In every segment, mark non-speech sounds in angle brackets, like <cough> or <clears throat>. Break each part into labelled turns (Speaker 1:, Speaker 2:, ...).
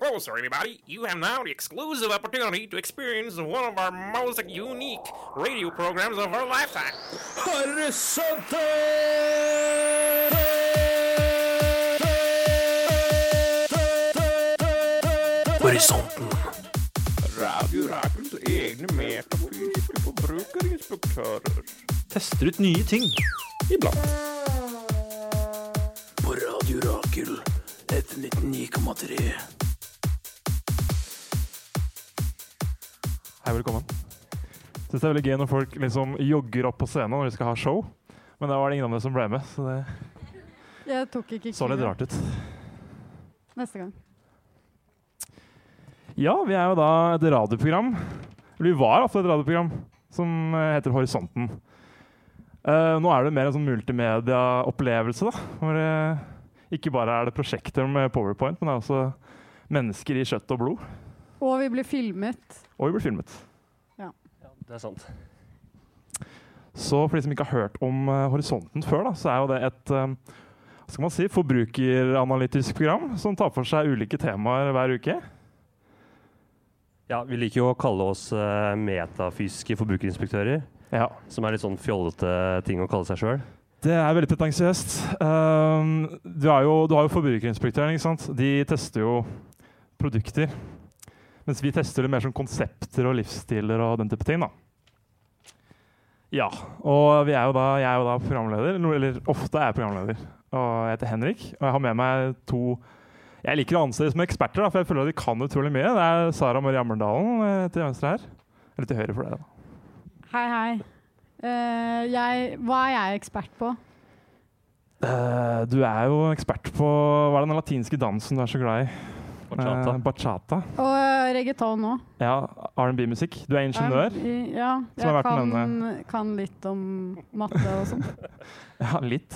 Speaker 1: closer, everybody. You have now the exclusive opportunity to experience one of our most unique radio programs of our lifetime.
Speaker 2: Horisonte!
Speaker 3: Horisonten.
Speaker 2: Radio Rakels egne metafysiske forbrukerinspektører.
Speaker 4: Tester ut nye ting.
Speaker 2: Iblant.
Speaker 3: På Radio Rakel. F99,3.
Speaker 5: Hei, velkommen. Syns det er veldig gøy når folk liksom jogger opp på scenen når de skal ha show. Men da var det ingen av dere som ble med, så det
Speaker 6: Jeg tok ikke
Speaker 5: så litt
Speaker 6: kniven.
Speaker 5: rart ut.
Speaker 6: Neste gang.
Speaker 5: Ja, vi er jo da et radioprogram. Eller vi var iallfall et radioprogram som eh, heter Horisonten. Eh, nå er det mer en sånn multimediaopplevelse, da. Hvor eh, ikke bare er det prosjekter med powerpoint, men det er også mennesker i kjøtt og blod.
Speaker 6: Og vi ble filmet.
Speaker 5: Og vi blir filmet.
Speaker 4: Det er sant.
Speaker 5: Så for de som ikke har hørt om eh, Horisonten før, da, så er jo det et eh, hva skal man si, forbrukeranalytisk program som tar for seg ulike temaer hver uke.
Speaker 4: Ja, vi liker jo å kalle oss eh, metafysiske forbrukerinspektører.
Speaker 5: Ja,
Speaker 4: Som er litt sånn fjollete ting å kalle seg sjøl.
Speaker 5: Det er veldig pretensiøst. Um, du, er jo, du har jo Forbrukerinspektøren. ikke sant? De tester jo produkter. Mens vi tester det mer som konsepter og livsstiler og den type ting. da. Ja. Og vi er jo da, jeg er jo da programleder. no- Eller ofte er jeg programleder. Og jeg heter Henrik. Og jeg har med meg to Jeg liker å anse dem som eksperter, da, for jeg føler at de kan utrolig mye. Det er Sara Marie Ammerdalen eh, til venstre her. Eller til høyre for deg, da.
Speaker 6: Hei, hei. Eh, jeg, hva er jeg ekspert på?
Speaker 5: Eh, du er jo ekspert på Hva er den latinske dansen du er så glad i? Eh, bachata.
Speaker 6: Og eh, reggaeton nå.
Speaker 5: Ja, R&B-musikk. Du er ingeniør.
Speaker 6: I- Ja,
Speaker 5: Som har
Speaker 6: jeg
Speaker 5: vært
Speaker 6: kan,
Speaker 5: med
Speaker 6: kan litt om matte og
Speaker 5: <laughs>
Speaker 6: sånn.
Speaker 5: Ja, litt.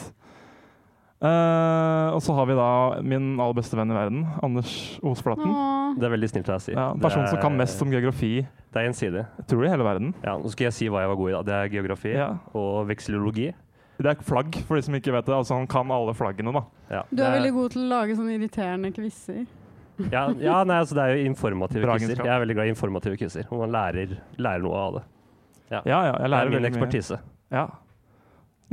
Speaker 5: Eh, og så har vi da min aller beste venn i verden, Anders Osflaten.
Speaker 6: Nå-
Speaker 4: Det er veldig snilt av deg å si.
Speaker 5: Ja, en
Speaker 4: Det
Speaker 5: person
Speaker 4: er-
Speaker 5: som kan mest om geografi,
Speaker 4: Det er gjensidig.
Speaker 5: tror du, i hele verden.
Speaker 4: Ja, nå skal jeg si hva jeg var god i, da. Det er geografi
Speaker 5: Ja.
Speaker 4: og vekselologi.
Speaker 5: Det er flagg, for de som ikke vet det. Altså, han kan alle flaggene, da.
Speaker 4: Ja,
Speaker 6: Du er
Speaker 4: det
Speaker 6: veldig god til å lage sånne irriterende quizer.
Speaker 4: Ja, ja nei, altså det er jo informative
Speaker 5: Bra
Speaker 4: quizer.
Speaker 5: egenskap.
Speaker 4: Jeg er veldig glad i informative quizer. Hvor man lærer, lærer noe av det.
Speaker 5: Ja, ja, jeg
Speaker 4: Det er
Speaker 5: lærer
Speaker 4: min
Speaker 5: veldig mye.
Speaker 4: ekspertise.
Speaker 5: Ja.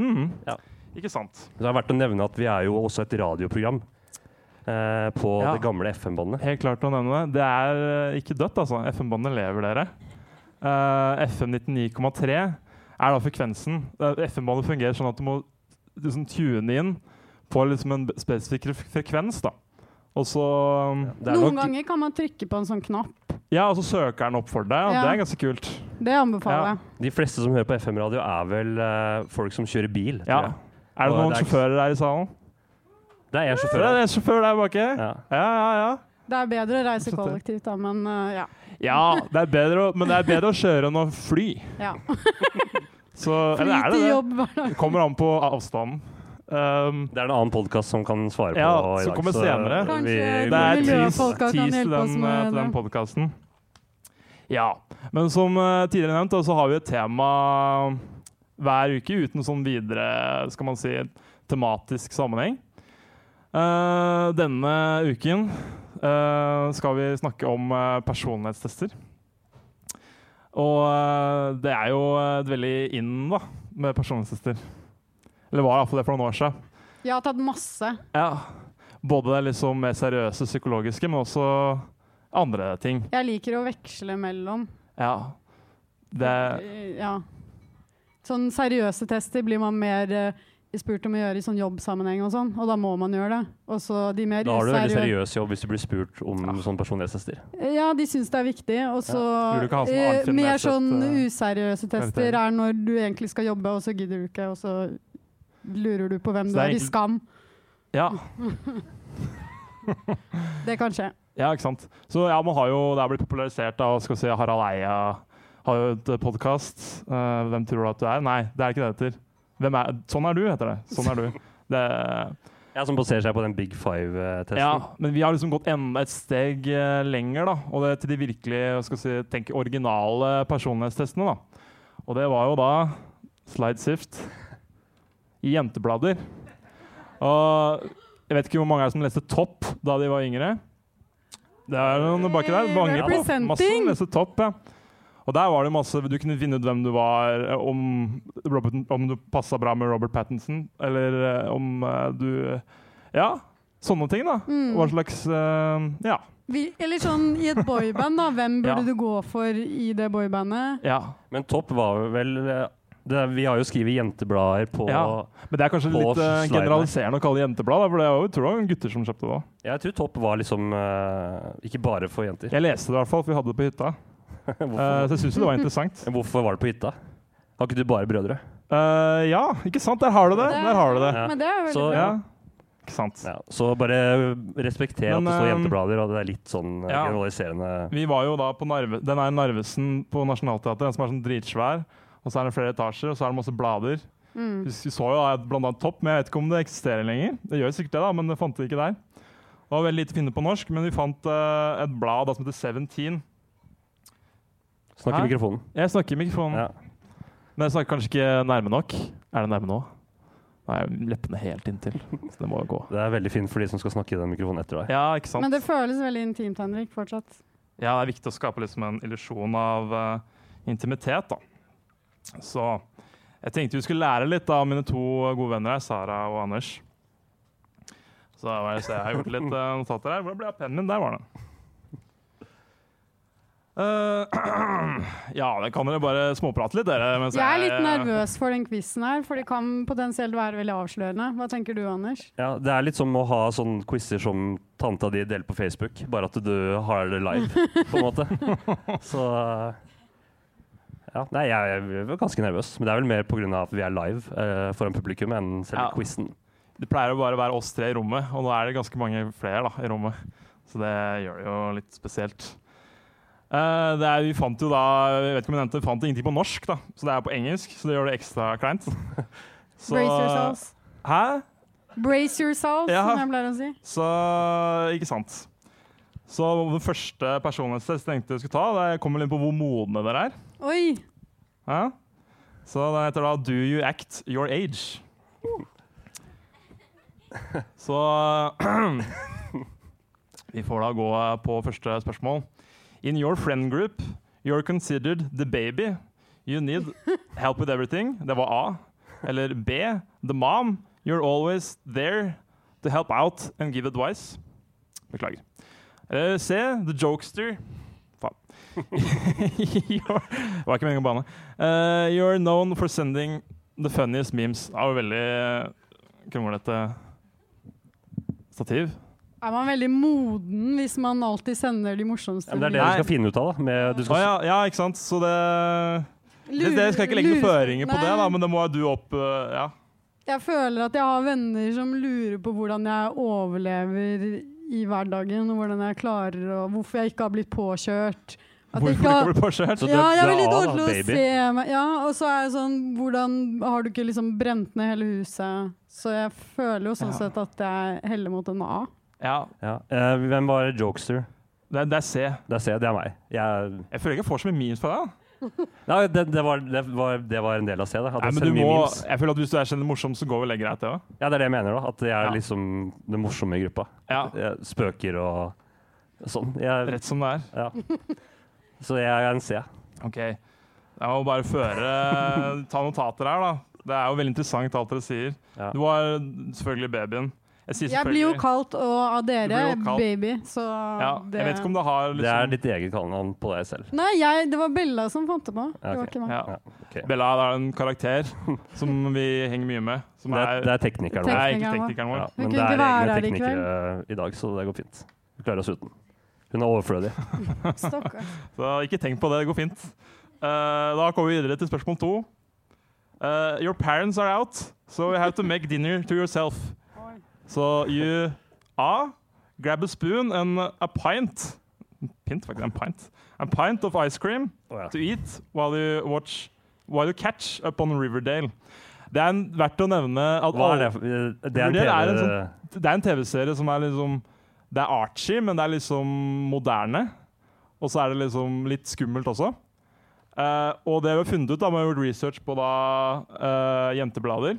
Speaker 5: Mhm.
Speaker 4: Ja.
Speaker 5: Ikke sant.
Speaker 4: Det er verdt å nevne at vi er jo også et radioprogram eh, på
Speaker 5: Ja.
Speaker 4: det gamle FM-båndet.
Speaker 5: Helt klart å nevne det. Det er eh, ikke dødt, altså. FM-båndet lever, dere. Eh, FM 99,3 er da frekvensen. Eh, FM-båndet fungerer sånn at du må liksom, tune inn på liksom, en spesifikk fre- frekvens. da. Og så um,
Speaker 4: Det er
Speaker 6: Noen
Speaker 4: nok-
Speaker 6: ganger kan man trykke på en sånn knapp.
Speaker 5: ja, og så søker den opp for deg. og
Speaker 6: Ja.
Speaker 5: Det er ganske kult.
Speaker 6: Det anbefaler jeg.
Speaker 4: De fleste som hører på FM-radio, er vel eh, folk som kjører bil. tror
Speaker 5: Ja.
Speaker 4: jeg.
Speaker 5: Er det
Speaker 4: Og
Speaker 5: noen
Speaker 4: det er ikke-
Speaker 5: sjåfører her i salen?
Speaker 4: Det er jeg
Speaker 5: Det er
Speaker 4: sjåfør.
Speaker 5: en sjåfør der bake. Ja,
Speaker 4: Ja.
Speaker 5: ja, ja.
Speaker 6: Det er bedre å reise
Speaker 5: Absolutt.
Speaker 6: kollektivt, da, men eh, ja.
Speaker 5: Ja, det er bedre å, Men det er bedre å kjøre enn å fly.
Speaker 6: ja.
Speaker 5: Så,
Speaker 6: <laughs>
Speaker 5: eller
Speaker 6: Fly
Speaker 5: er det
Speaker 6: til
Speaker 5: det?
Speaker 6: jobb hver dag.
Speaker 5: Det kommer an på avstanden. Um,
Speaker 4: Det er en annen podkast som kan svare på
Speaker 5: Ja,
Speaker 4: i dag.
Speaker 5: som kommer
Speaker 4: så eh,
Speaker 5: senere.
Speaker 4: vi-
Speaker 6: Kanskje-
Speaker 5: Det er
Speaker 6: Hvor
Speaker 5: tease,
Speaker 6: miljøfolka kan
Speaker 5: tease til
Speaker 6: hjelpe oss
Speaker 5: den,
Speaker 6: med
Speaker 5: eh, til den
Speaker 6: det.
Speaker 5: podkasten. Ja. Men som eh, tidligere nevnt, da, så har vi et tema eh, hver uke uten sånn videre skal man si, tematisk sammenheng. Eh, denne uken eh, skal vi snakke om eh, personlighetstester. Og eh, det er jo et veldig in da, med personlighetstester. Eller var iallfall det for noen år siden.
Speaker 6: Jeg har tatt masse.
Speaker 5: Ja. Både det liksom mer seriøse psykologiske, men også andre ting.
Speaker 6: Jeg liker å veksle mellom.
Speaker 5: Ja. Det,
Speaker 6: Eh, Ja. Sånn seriøse tester blir man mer eh, spurt om å gjøre i sånn jobbsammenheng og sånn, og da må man gjøre det. Og så de mer
Speaker 4: Da har du veldig
Speaker 6: useriø-
Speaker 4: seriøs jobb hvis du blir spurt om sånn personlighetstester.
Speaker 6: Ja, de syns det er viktig, og så
Speaker 5: Ja. Vil du ikke ha sånn
Speaker 6: eh,
Speaker 5: Arnfinn
Speaker 6: mer
Speaker 5: Neseth,
Speaker 6: sånn
Speaker 5: eh,
Speaker 6: useriøse tester
Speaker 5: karakter?
Speaker 6: er når du egentlig skal jobbe, og så gidder du ikke, og så lurer du på hvem
Speaker 5: Så det
Speaker 6: du
Speaker 5: er
Speaker 6: er i
Speaker 5: egentlig-
Speaker 6: skam.
Speaker 5: ja.
Speaker 6: Det kan skje.
Speaker 5: ja, ikke sant. Så ja, man har jo, det er blitt popularisert av skal vi si, Harald Eia har jo et podkast. hvem tror du at du er? Nei, det er ikke det det heter. Hvem er, sånn er du, heter det. Sånn er du. Det,
Speaker 4: Ja, som baserer seg på den Big Five-testen.
Speaker 5: ja, men vi har liksom gått enda et steg eh, lenger, da. Og det er til de virkelig hva skal vi si, tenk, originale personlighetstestene, da. Og det var jo da Slideskift i jenteblader. Og jeg vet ikke hvor mange er det som leste Topp da de var yngre. Det er noen baki der. Bange på.
Speaker 6: Representing.
Speaker 5: Masse neste topp, ja. Og der var det masse Du kunne finne ut hvem du var, eh, om, Robert, om du passa bra med Robert Pattinson, eller eh, om eh, du Ja, sånne ting, da. Hva slags eh, Ja.
Speaker 6: Vi, eller sånn i et boyband, da. Hvem burde
Speaker 5: <laughs> Ja.
Speaker 6: du gå for i det boybandet?
Speaker 5: ja.
Speaker 4: Men topp var vel eh, det, Vi har jo skrevet jenteblader på
Speaker 5: Ja. Men det er kanskje
Speaker 4: På
Speaker 5: litt eh,
Speaker 4: sliden.
Speaker 5: generaliserende å kalle det jenteblad, da, for det var jo tror jeg, gutter som kjøpte det òg.
Speaker 4: Jeg tror topp var liksom eh, ikke bare for jenter.
Speaker 5: Jeg leste det i hvert fall, for vi hadde det på
Speaker 4: <laughs>
Speaker 5: hytta. Eh,
Speaker 4: Hvorfor,
Speaker 5: så jeg syns jo det var interessant.
Speaker 4: hvorfor var det på hytta? Har ikke du bare brødre?
Speaker 5: Eh, ja, ikke sant? Der har du det! Der har du det.
Speaker 4: Ja.
Speaker 6: Men det er jo veldig
Speaker 4: Så-
Speaker 6: bra.
Speaker 5: Ja. Ikke sant.
Speaker 4: Ja, så bare respekter at
Speaker 5: Men,
Speaker 4: det står
Speaker 5: eh,
Speaker 4: jenteblader, og det er litt sånn eh,
Speaker 5: ja.
Speaker 4: generaliserende
Speaker 5: Vi var jo da på Narve, den er Narvesen på Nationaltheatret, den som er sånn dritsvær. Og så er det flere etasjer, og så er det masse blader. Vi s- så jo da et- blant annet Topp, men jeg vet ikke om det eksisterer lenger. Det gjør sikkert det, da, men det fant vi ikke der. Det var veldig lite å finne på norsk, men vi fant eh, et blad da, som heter Seventeen.
Speaker 4: Snakk i
Speaker 5: Hæ?
Speaker 4: mikrofonen.
Speaker 5: Jeg snakker i mikrofonen,
Speaker 4: Ja.
Speaker 5: men jeg snakker kanskje ikke nærme nok. Er det nærme nå? Nei, leppene helt inntil, så det må jo gå.
Speaker 4: Det er veldig fint for de som skal snakke i den mikrofonen etter deg.
Speaker 5: Ja, ikke sant?
Speaker 6: Men det føles veldig intimt, Henrik, fortsatt.
Speaker 5: Ja, det er viktig å skape liksom en illusjon av eh, intimitet, da. Så jeg tenkte vi skulle lære litt av mine to gode venner her, Sara og Anders. Så, da var det- så jeg har gjort litt eh, notater her. Hvor ble det av pennen min? Der var den. Eh, <clears throat> ja, det kan dere bare småprate litt, dere. mens
Speaker 6: Jeg er litt nervøs for den quizen her, for det kan potensielt være veldig avslørende. Hva tenker du, Anders?
Speaker 4: Ja, det er litt som å ha sånne quizer som tanta di deler på Facebook, bare at du har det
Speaker 5: <laughs>
Speaker 4: live, på en måte. Så ja, Nei, jeg er vel ganske nervøs, men det er vel mer pga. at vi er live eh, foran publikum enn selve
Speaker 5: Ja.
Speaker 4: quizen.
Speaker 5: Det pleier å bare være oss tre i rommet, og nå er det ganske mange flere da, i rommet. Så det gjør det jo litt spesielt. Eh, det er, vi fant jo da jeg vet ikke om jeg nevnte, vi fant ingenting på norsk, da. så det er på engelsk. Så det gjør det ekstra kleint. Så-
Speaker 6: Brace yourselves.
Speaker 5: Hæ?
Speaker 6: Brace yourselves,
Speaker 5: Ja.
Speaker 6: som jeg pleier å si.
Speaker 5: Så ikke sant. Så den første personlighetstest jeg tenkte jeg skulle ta, det kommer litt på hvor modne dere er.
Speaker 6: Oi!
Speaker 5: Ja. Så den heter da Do you act your age? Så <clears throat> Vi får da gå på første spørsmål. In your friend group, you're considered the baby. You need help with everything. Det var A. Eller B. The mom. You're always there to help out and give advice. Beklager. Eller C. The jokester. Faen. <laughs> You're- Det var ikke meningen å bane. Eh, you're known for sending the funniest memes. Det var veldig eh, kronglete stativ.
Speaker 6: Er man veldig moden hvis man alltid sender de morsomste
Speaker 4: Ja, men det er det
Speaker 5: Nei.
Speaker 4: du skal finne ut av, da. Med, du
Speaker 5: Å
Speaker 4: skal,
Speaker 5: ja, ja, ikke sant? Så det Det,
Speaker 6: Lurer-
Speaker 5: det skal ikke legge noen
Speaker 6: lurer-
Speaker 5: føringer på det,
Speaker 6: Nei.
Speaker 5: da, men det må jo du opp eh, Ja.
Speaker 6: Jeg føler at jeg har venner som lurer på hvordan jeg overlever i hverdagen, og hvordan jeg klarer, og hvorfor jeg ikke har blitt påkjørt. At jeg
Speaker 5: Hvorfor
Speaker 6: ikke
Speaker 5: ikke
Speaker 6: har...
Speaker 5: bli påkjørt?
Speaker 4: Så det-
Speaker 6: Ja, jeg
Speaker 4: det
Speaker 6: vil
Speaker 4: er
Speaker 6: litt
Speaker 4: A, da,
Speaker 6: ordentlig å
Speaker 4: baby.
Speaker 6: se meg. Ja, og så er det sånn, hvordan har du ikke liksom brent ned hele huset? Så jeg føler jo sånn
Speaker 5: Ja.
Speaker 6: sett at jeg heller mot en A.
Speaker 5: Ja,
Speaker 4: ja. Eh, hvem var jokester?
Speaker 5: det, det er C.
Speaker 4: Det er C, det er meg. Jeg,
Speaker 5: Jeg føler ikke jeg får så mye memes fra deg. da.
Speaker 4: nei, det, det, var, det, var, det var en del av C, det. At
Speaker 5: Nei, men
Speaker 4: jeg sender
Speaker 5: du
Speaker 4: mye
Speaker 5: må,
Speaker 4: memes.
Speaker 5: jeg føler at Hvis du er kjent morsom, så går vel det greit, det òg.
Speaker 4: Ja, det er det jeg mener, da. At jeg er
Speaker 5: Ja.
Speaker 4: liksom den morsomme i gruppa.
Speaker 5: Ja.
Speaker 4: Jeg spøker og sånn. Jeg,
Speaker 5: Rett som det er.
Speaker 4: ja. Så jeg er en C.
Speaker 5: Ok. Jeg må bare føre eh, Ta notater her, da. Det er jo veldig interessant, alt dere sier.
Speaker 4: Ja.
Speaker 5: Du var selvfølgelig babyen. Jeg, sier
Speaker 6: Jeg blir jo
Speaker 5: selvfølgelig-
Speaker 6: kalt, og av dere,
Speaker 5: Du blir jo kalt.
Speaker 6: baby, så
Speaker 5: ja, Jeg vet ikke om det har liksom,
Speaker 4: Det er ditt eget kallenavn på deg selv.
Speaker 6: Nei, jeg, det var Bella som fant det på. Det var
Speaker 4: ok.
Speaker 6: ikke meg.
Speaker 5: ja.
Speaker 4: Ja, ok.
Speaker 5: Bella er en karakter som vi henger mye med. Som
Speaker 4: Det
Speaker 5: er,
Speaker 4: er, det er teknikeren
Speaker 5: det er
Speaker 4: vår.
Speaker 6: Teknikeren
Speaker 5: egentlig
Speaker 6: vår.
Speaker 5: teknikeren vår.
Speaker 4: Ja,
Speaker 6: Hun
Speaker 4: men
Speaker 6: kunne ikke
Speaker 4: det er egne
Speaker 6: være her i
Speaker 4: teknikere i dag, så det går fint. Vi klarer oss uten. Hun er overflødig.
Speaker 6: Stakkars.
Speaker 5: <laughs> Så ikke tenk på det, det går fint. Eh, da kommer vi videre til spørsmål to. Eh, your parents are out, so you have to make dinner to yourself. So you A. Grab a spoon and a pint. Pint, faktisk. En pint. A pint of ice cream
Speaker 4: Å, ja.
Speaker 5: to eat while you watch While you catch up on Riverdale. Det er en, verdt å nevne at
Speaker 4: Hva er
Speaker 5: alle-
Speaker 4: det? for- Det er en
Speaker 5: Det er en sånn-
Speaker 4: TV...
Speaker 5: det er en TV-serie som er liksom Det er Archie, men det er liksom moderne. Og så er det liksom litt skummelt også. Eh, og det vi har funnet ut da, med research på da eh, jenteblader,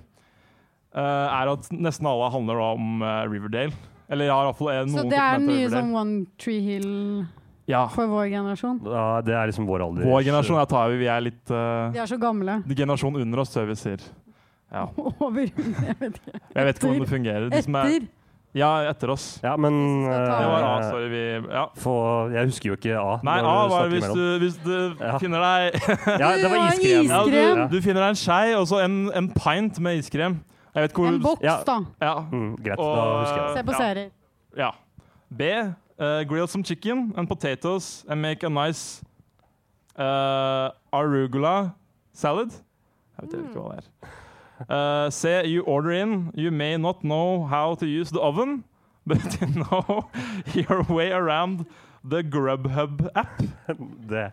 Speaker 5: eh, er at nesten alle handler da om eh, Riverdale. Eller jeg har iallfall noen
Speaker 6: Så det er den nye
Speaker 5: dokumenterte
Speaker 6: sånn
Speaker 5: øyeblikk.
Speaker 6: One Tree Hill
Speaker 5: Ja.
Speaker 6: for vår generasjon?
Speaker 4: Ja, det er liksom vår alder.
Speaker 5: Vår generasjon er tar vi, vi er litt
Speaker 6: De
Speaker 5: uh,
Speaker 6: er så gamle. <laughs>
Speaker 5: Generasjon under oss, tør vi sier. Ja.
Speaker 6: Over Jeg vet ikke.
Speaker 5: Jeg vet ikke hvordan det fungerer. De som er,
Speaker 6: Etter.
Speaker 5: ja, etter oss.
Speaker 4: Ja, men
Speaker 6: Skal ta-
Speaker 5: Det var A,
Speaker 4: eh,
Speaker 5: sorry. Vi, ja.
Speaker 4: få- Jeg husker jo ikke A.
Speaker 5: Nei,
Speaker 4: når
Speaker 5: A
Speaker 4: vi
Speaker 5: var
Speaker 4: snakker
Speaker 5: hvis
Speaker 4: imellom.
Speaker 5: du, hvis du
Speaker 4: Ja.
Speaker 5: finner deg <laughs>
Speaker 4: Ja, det var
Speaker 6: Det var
Speaker 4: iskrem.
Speaker 5: ja, du,
Speaker 6: Iskrem.
Speaker 5: du finner deg en skei og så en, en pint med iskrem. Jeg vet ikke hvor
Speaker 6: En boks,
Speaker 4: Ja.
Speaker 6: da.
Speaker 5: Ja.
Speaker 4: Mm, greit,
Speaker 5: Og,
Speaker 4: da husker jeg det.
Speaker 6: Se på
Speaker 5: Ja.
Speaker 6: serier.
Speaker 5: ja. B. Uh, grill some chicken and potatoes and make a nice eh, arugula salad. Jeg vet ikke hva det er. Eh, C. You order in. You may not know how to use the oven, but <laughs> you know your way around the Grubhub app.
Speaker 4: det.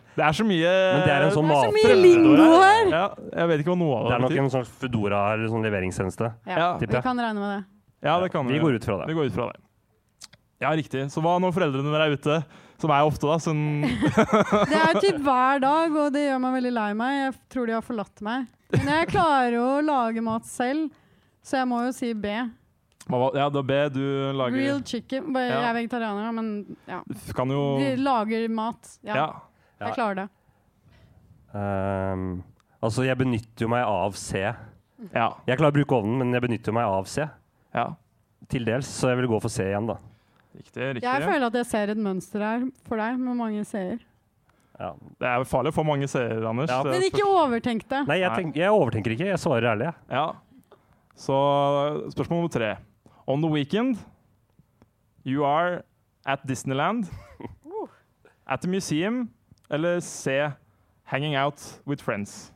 Speaker 5: Det er så mye
Speaker 4: Men det er en sånn
Speaker 6: Eh, Det er så
Speaker 4: mat...
Speaker 6: mye lingo her!
Speaker 5: Ja, jeg vet ikke hva noe av
Speaker 4: Det er nok
Speaker 5: betyr.
Speaker 4: en sånn Foodora eller sånn leveringstjeneste.
Speaker 6: Ja,
Speaker 5: Ja.
Speaker 6: vi kan regne med det.
Speaker 5: Ja, det kan
Speaker 4: Vi går ut fra det.
Speaker 5: Vi går ut fra det. Ja, riktig. Så hva når foreldrene dere er ute, som er ofte, da?
Speaker 6: <laughs>
Speaker 5: Som,
Speaker 6: Det er typ hver dag, og det gjør meg veldig lei meg. Jeg tror de har forlatt meg. Men jeg klarer jo å lage mat selv, så jeg må jo si B.
Speaker 5: Hva var- ja, da B, du lager
Speaker 6: Real chicken. Bare-
Speaker 5: Ja.
Speaker 6: Jeg er vegetarianer, da, men ja.
Speaker 5: Du Kan jo
Speaker 6: De lager mat. Ja,
Speaker 5: Ja.
Speaker 6: jeg klarer det.
Speaker 4: Ehm, altså, jeg benytter jo meg av C.
Speaker 5: Ja.
Speaker 4: Jeg klarer å bruke ovnen, men jeg benytter meg av C.
Speaker 5: ja.
Speaker 4: Til dels, så jeg vil gå for C igjen, da.
Speaker 5: Riktig. riktig.
Speaker 6: Jeg føler at jeg ser et mønster her for deg, med mange seere.
Speaker 4: Ja.
Speaker 5: Det er farlig å få mange seere, Anders.
Speaker 4: Ja.
Speaker 5: Det er
Speaker 6: Men ikke overtenk det.
Speaker 4: Nei, jeg,
Speaker 5: Nei.
Speaker 4: tenk, jeg overtenker ikke. Jeg svarer ærlig, jeg.
Speaker 5: spør- ja. Så spørsmål nummer tre. On the weekend, you are at
Speaker 6: <laughs>
Speaker 5: Disneyland, at the museum, eller C, hanging out with friends.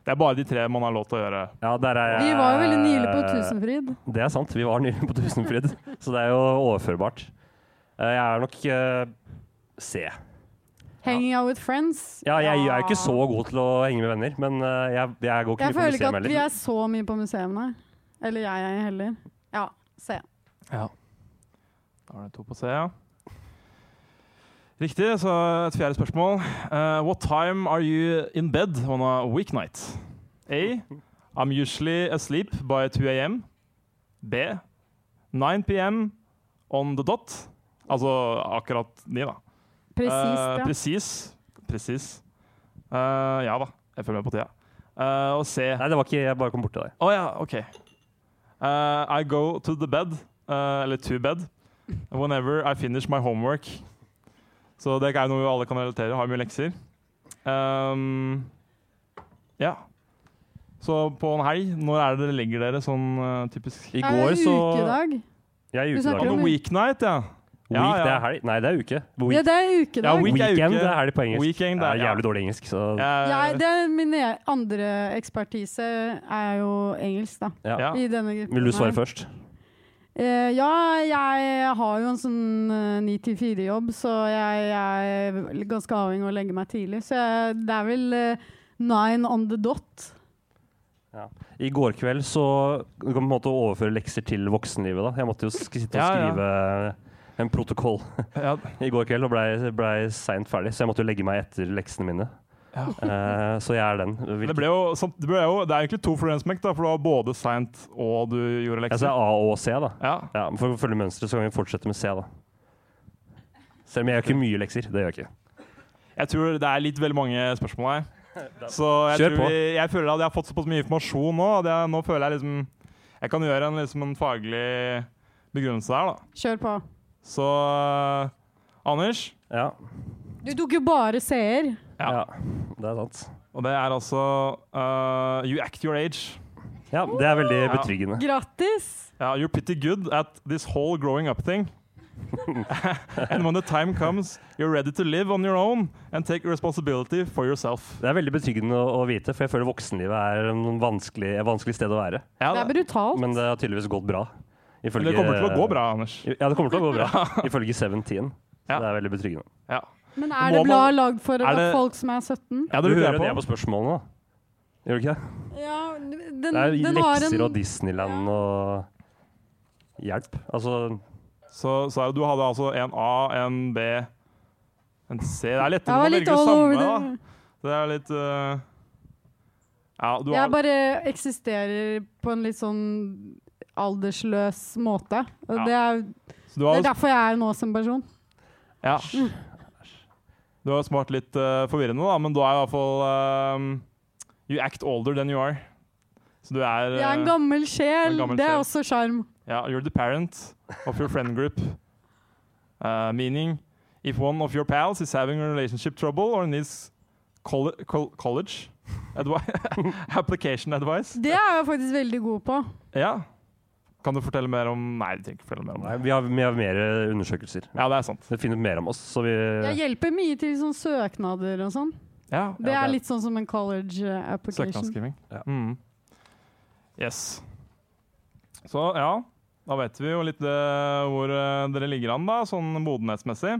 Speaker 5: Det er bare de tre man har lov til å gjøre.
Speaker 4: Ja, der er
Speaker 6: Vi
Speaker 4: jeg
Speaker 6: var jo veldig nylig
Speaker 4: Eh,
Speaker 6: på Tusenfryd.
Speaker 4: Det er sant. Vi var nylig på Tusenfryd,
Speaker 6: <laughs>
Speaker 4: så det er jo overførbart. Eh, Jeg er nok eh, C.
Speaker 6: Hanging out with friends.
Speaker 4: Ja, jeg, er ikke så god til å henge med venner, men eh, jeg, jeg går ikke
Speaker 6: Jeg
Speaker 4: mye på
Speaker 6: føler ikke
Speaker 4: museum
Speaker 6: at vi
Speaker 4: heller.
Speaker 6: er så mye på museene. Eller jeg er heller. Ja, se.
Speaker 5: Da var det to på C, ja. Riktig, så et fjerde spørsmål. Uh, what time are you in bed on a weeknight? A. I'm usually asleep by 2 a.m. B. 9 p.m. on the dot. Altså akkurat ni, da. Eh,
Speaker 6: Presist, ja.
Speaker 5: Presis. Presis. Eh, ja da, jeg følger med på tida. Eh, og C.
Speaker 4: <laughs> Nei, det var ikke Jeg bare kom bort til deg.
Speaker 5: Å ja, OK. Uh, I go to the bed, uh, eller to bed, whenever I finish my homework. Så det er noe vi alle kan relatere. Har mye lekser. Um, ja. Så på en helg, når er det dere legger dere sånn uh, typisk
Speaker 4: I
Speaker 6: er
Speaker 4: går
Speaker 6: det
Speaker 4: så
Speaker 6: ukedag?
Speaker 4: Jeg er
Speaker 6: Du
Speaker 4: i
Speaker 6: snakker
Speaker 4: ukedag.
Speaker 6: om-
Speaker 5: On a weeknight, ja.
Speaker 4: Week,
Speaker 5: Ja, ja.
Speaker 4: det er helg. Nei, det er uke. Week,
Speaker 6: Ja, det er
Speaker 5: Ja,
Speaker 6: ukedag.
Speaker 5: week- er
Speaker 4: weekend
Speaker 5: uke.
Speaker 4: det er det på engelsk.
Speaker 5: Weekend,
Speaker 4: det er
Speaker 5: ja.
Speaker 4: jævlig dårlig engelsk, så
Speaker 6: Jeg, det er min e- andre ekspertise er jo engelsk, da.
Speaker 4: ja.
Speaker 5: ja.
Speaker 6: I denne gruppen.
Speaker 4: Vil
Speaker 6: her.
Speaker 4: du svare først?
Speaker 6: Eh, ja, jeg har jo en sånn eh, 9-4-jobb, så jeg, jeg er ganske avhengig av å legge meg tidlig. Så jeg, det er vel eh, nine on the dot.
Speaker 4: I går kveld så Du kan på en måte overføre lekser til voksenlivet, da. Jeg måtte jo sk sitte og
Speaker 5: Ja, ja.
Speaker 4: skrive en protokoll
Speaker 5: ja.
Speaker 4: i går kveld og blei ble seint ferdig, så jeg måtte jo legge meg etter leksene mine.
Speaker 5: Ja.
Speaker 4: Eh, så jeg er den. Vil
Speaker 5: Det
Speaker 4: ikke-
Speaker 5: ble jo, samt- det ble jo Det er egentlig to for en smekk, da, for du var både seint og du gjorde
Speaker 4: Jeg
Speaker 5: lekser.
Speaker 4: sier A og C, da.
Speaker 5: Ja.
Speaker 4: Ja, men For å følge mønsteret så kan vi fortsette med C, da. Selv om jeg gjør ikke mye lekser. Det gjør jeg ikke.
Speaker 5: Jeg tror det er litt veldig mange spørsmål her. Så jeg,
Speaker 4: Kjør
Speaker 5: tror
Speaker 4: på.
Speaker 5: vi, jeg føler at jeg har fått såpass mye informasjon nå. At jeg, nå føler jeg liksom Jeg kan gjøre en, liksom en faglig begrunnelse her, da.
Speaker 6: Kjør på.
Speaker 5: Så eh, Anders
Speaker 4: Ja,
Speaker 6: Du tok jo bare seer.
Speaker 5: Ja.
Speaker 4: ja. det er sant.
Speaker 5: Og det er altså uh, You act your age.
Speaker 4: Ja, det er veldig betryggende.
Speaker 6: Grattis!
Speaker 5: Ja, you're pretty good at this whole growing up thing. <laughs> and when the time comes, you're ready to live on your own and take responsibility for yourself.
Speaker 4: Det er veldig betryggende å å vite, for jeg føler voksenlivet er en vanskelig, et vanskelig sted å være.
Speaker 5: Ja,
Speaker 6: Det er
Speaker 5: det,
Speaker 6: brutalt.
Speaker 4: Men det har tydeligvis gått bra. Ifølge,
Speaker 5: det kommer til å gå bra, Anders.
Speaker 4: Ja, det kommer til å gå
Speaker 5: <laughs>
Speaker 4: bra, ifølge Seventeen. Så
Speaker 5: Ja.
Speaker 4: det er veldig betryggende.
Speaker 5: Ja.
Speaker 6: Men
Speaker 5: Må
Speaker 6: er det bra
Speaker 5: man-
Speaker 6: lagd for
Speaker 5: er det-
Speaker 6: folk som er 17?
Speaker 5: Ja,
Speaker 4: Du
Speaker 5: dere hører
Speaker 4: hører jo det
Speaker 5: på.
Speaker 4: på spørsmålene, da. Gjør du ikke det?
Speaker 6: Ja, den, den
Speaker 4: Det er
Speaker 6: har
Speaker 4: lekser
Speaker 6: en
Speaker 4: og Disneyland og Hjelp. Altså
Speaker 5: Så, så er det- du hadde altså en A, en B, en C. Det er lettere
Speaker 6: Jeg var
Speaker 5: å velge
Speaker 6: litt
Speaker 5: det
Speaker 6: all over
Speaker 5: samme,
Speaker 6: the
Speaker 5: da. Det er litt øh, Ja, du har
Speaker 6: Jeg bare eksisterer på en litt sånn aldersløs måte. Og
Speaker 5: Ja.
Speaker 6: det, er,
Speaker 5: Så du
Speaker 6: det
Speaker 5: har,
Speaker 6: er derfor jeg er nå som person.
Speaker 5: ja. du har smart litt eh, forvirrende, da, men du er i hvert fall ehm, You act older than you are. Så du er
Speaker 6: Jeg er en
Speaker 5: eh,
Speaker 6: gammel sjel.
Speaker 5: en gammel
Speaker 6: det er
Speaker 5: sjel.
Speaker 6: også sjarm.
Speaker 5: Yeah, you're the parent of your friend group. Uh, meaning, if one of your pals is having a relationship trouble or needs coll col college advi <laughs> application advice
Speaker 6: Det er jeg faktisk veldig god på.
Speaker 5: Ja. Kan du fortelle mer om Nei, du trenger ikke fortelle mer om
Speaker 4: Nei,
Speaker 5: det.
Speaker 4: vi har, vi har mer eh, undersøkelser.
Speaker 5: Ja, det er sant.
Speaker 4: Det finner ut mer om oss, så vi
Speaker 6: Jeg hjelper mye til sånn søknader og sånn.
Speaker 5: Ja,
Speaker 6: Det
Speaker 5: ja,
Speaker 6: er litt sånn som en college eh, application.
Speaker 5: søknadsskriving.
Speaker 4: Ja.
Speaker 5: Mm. Yes. Så ja, da vet vi jo litt eh, hvor eh, dere ligger an, da, sånn modenhetsmessig.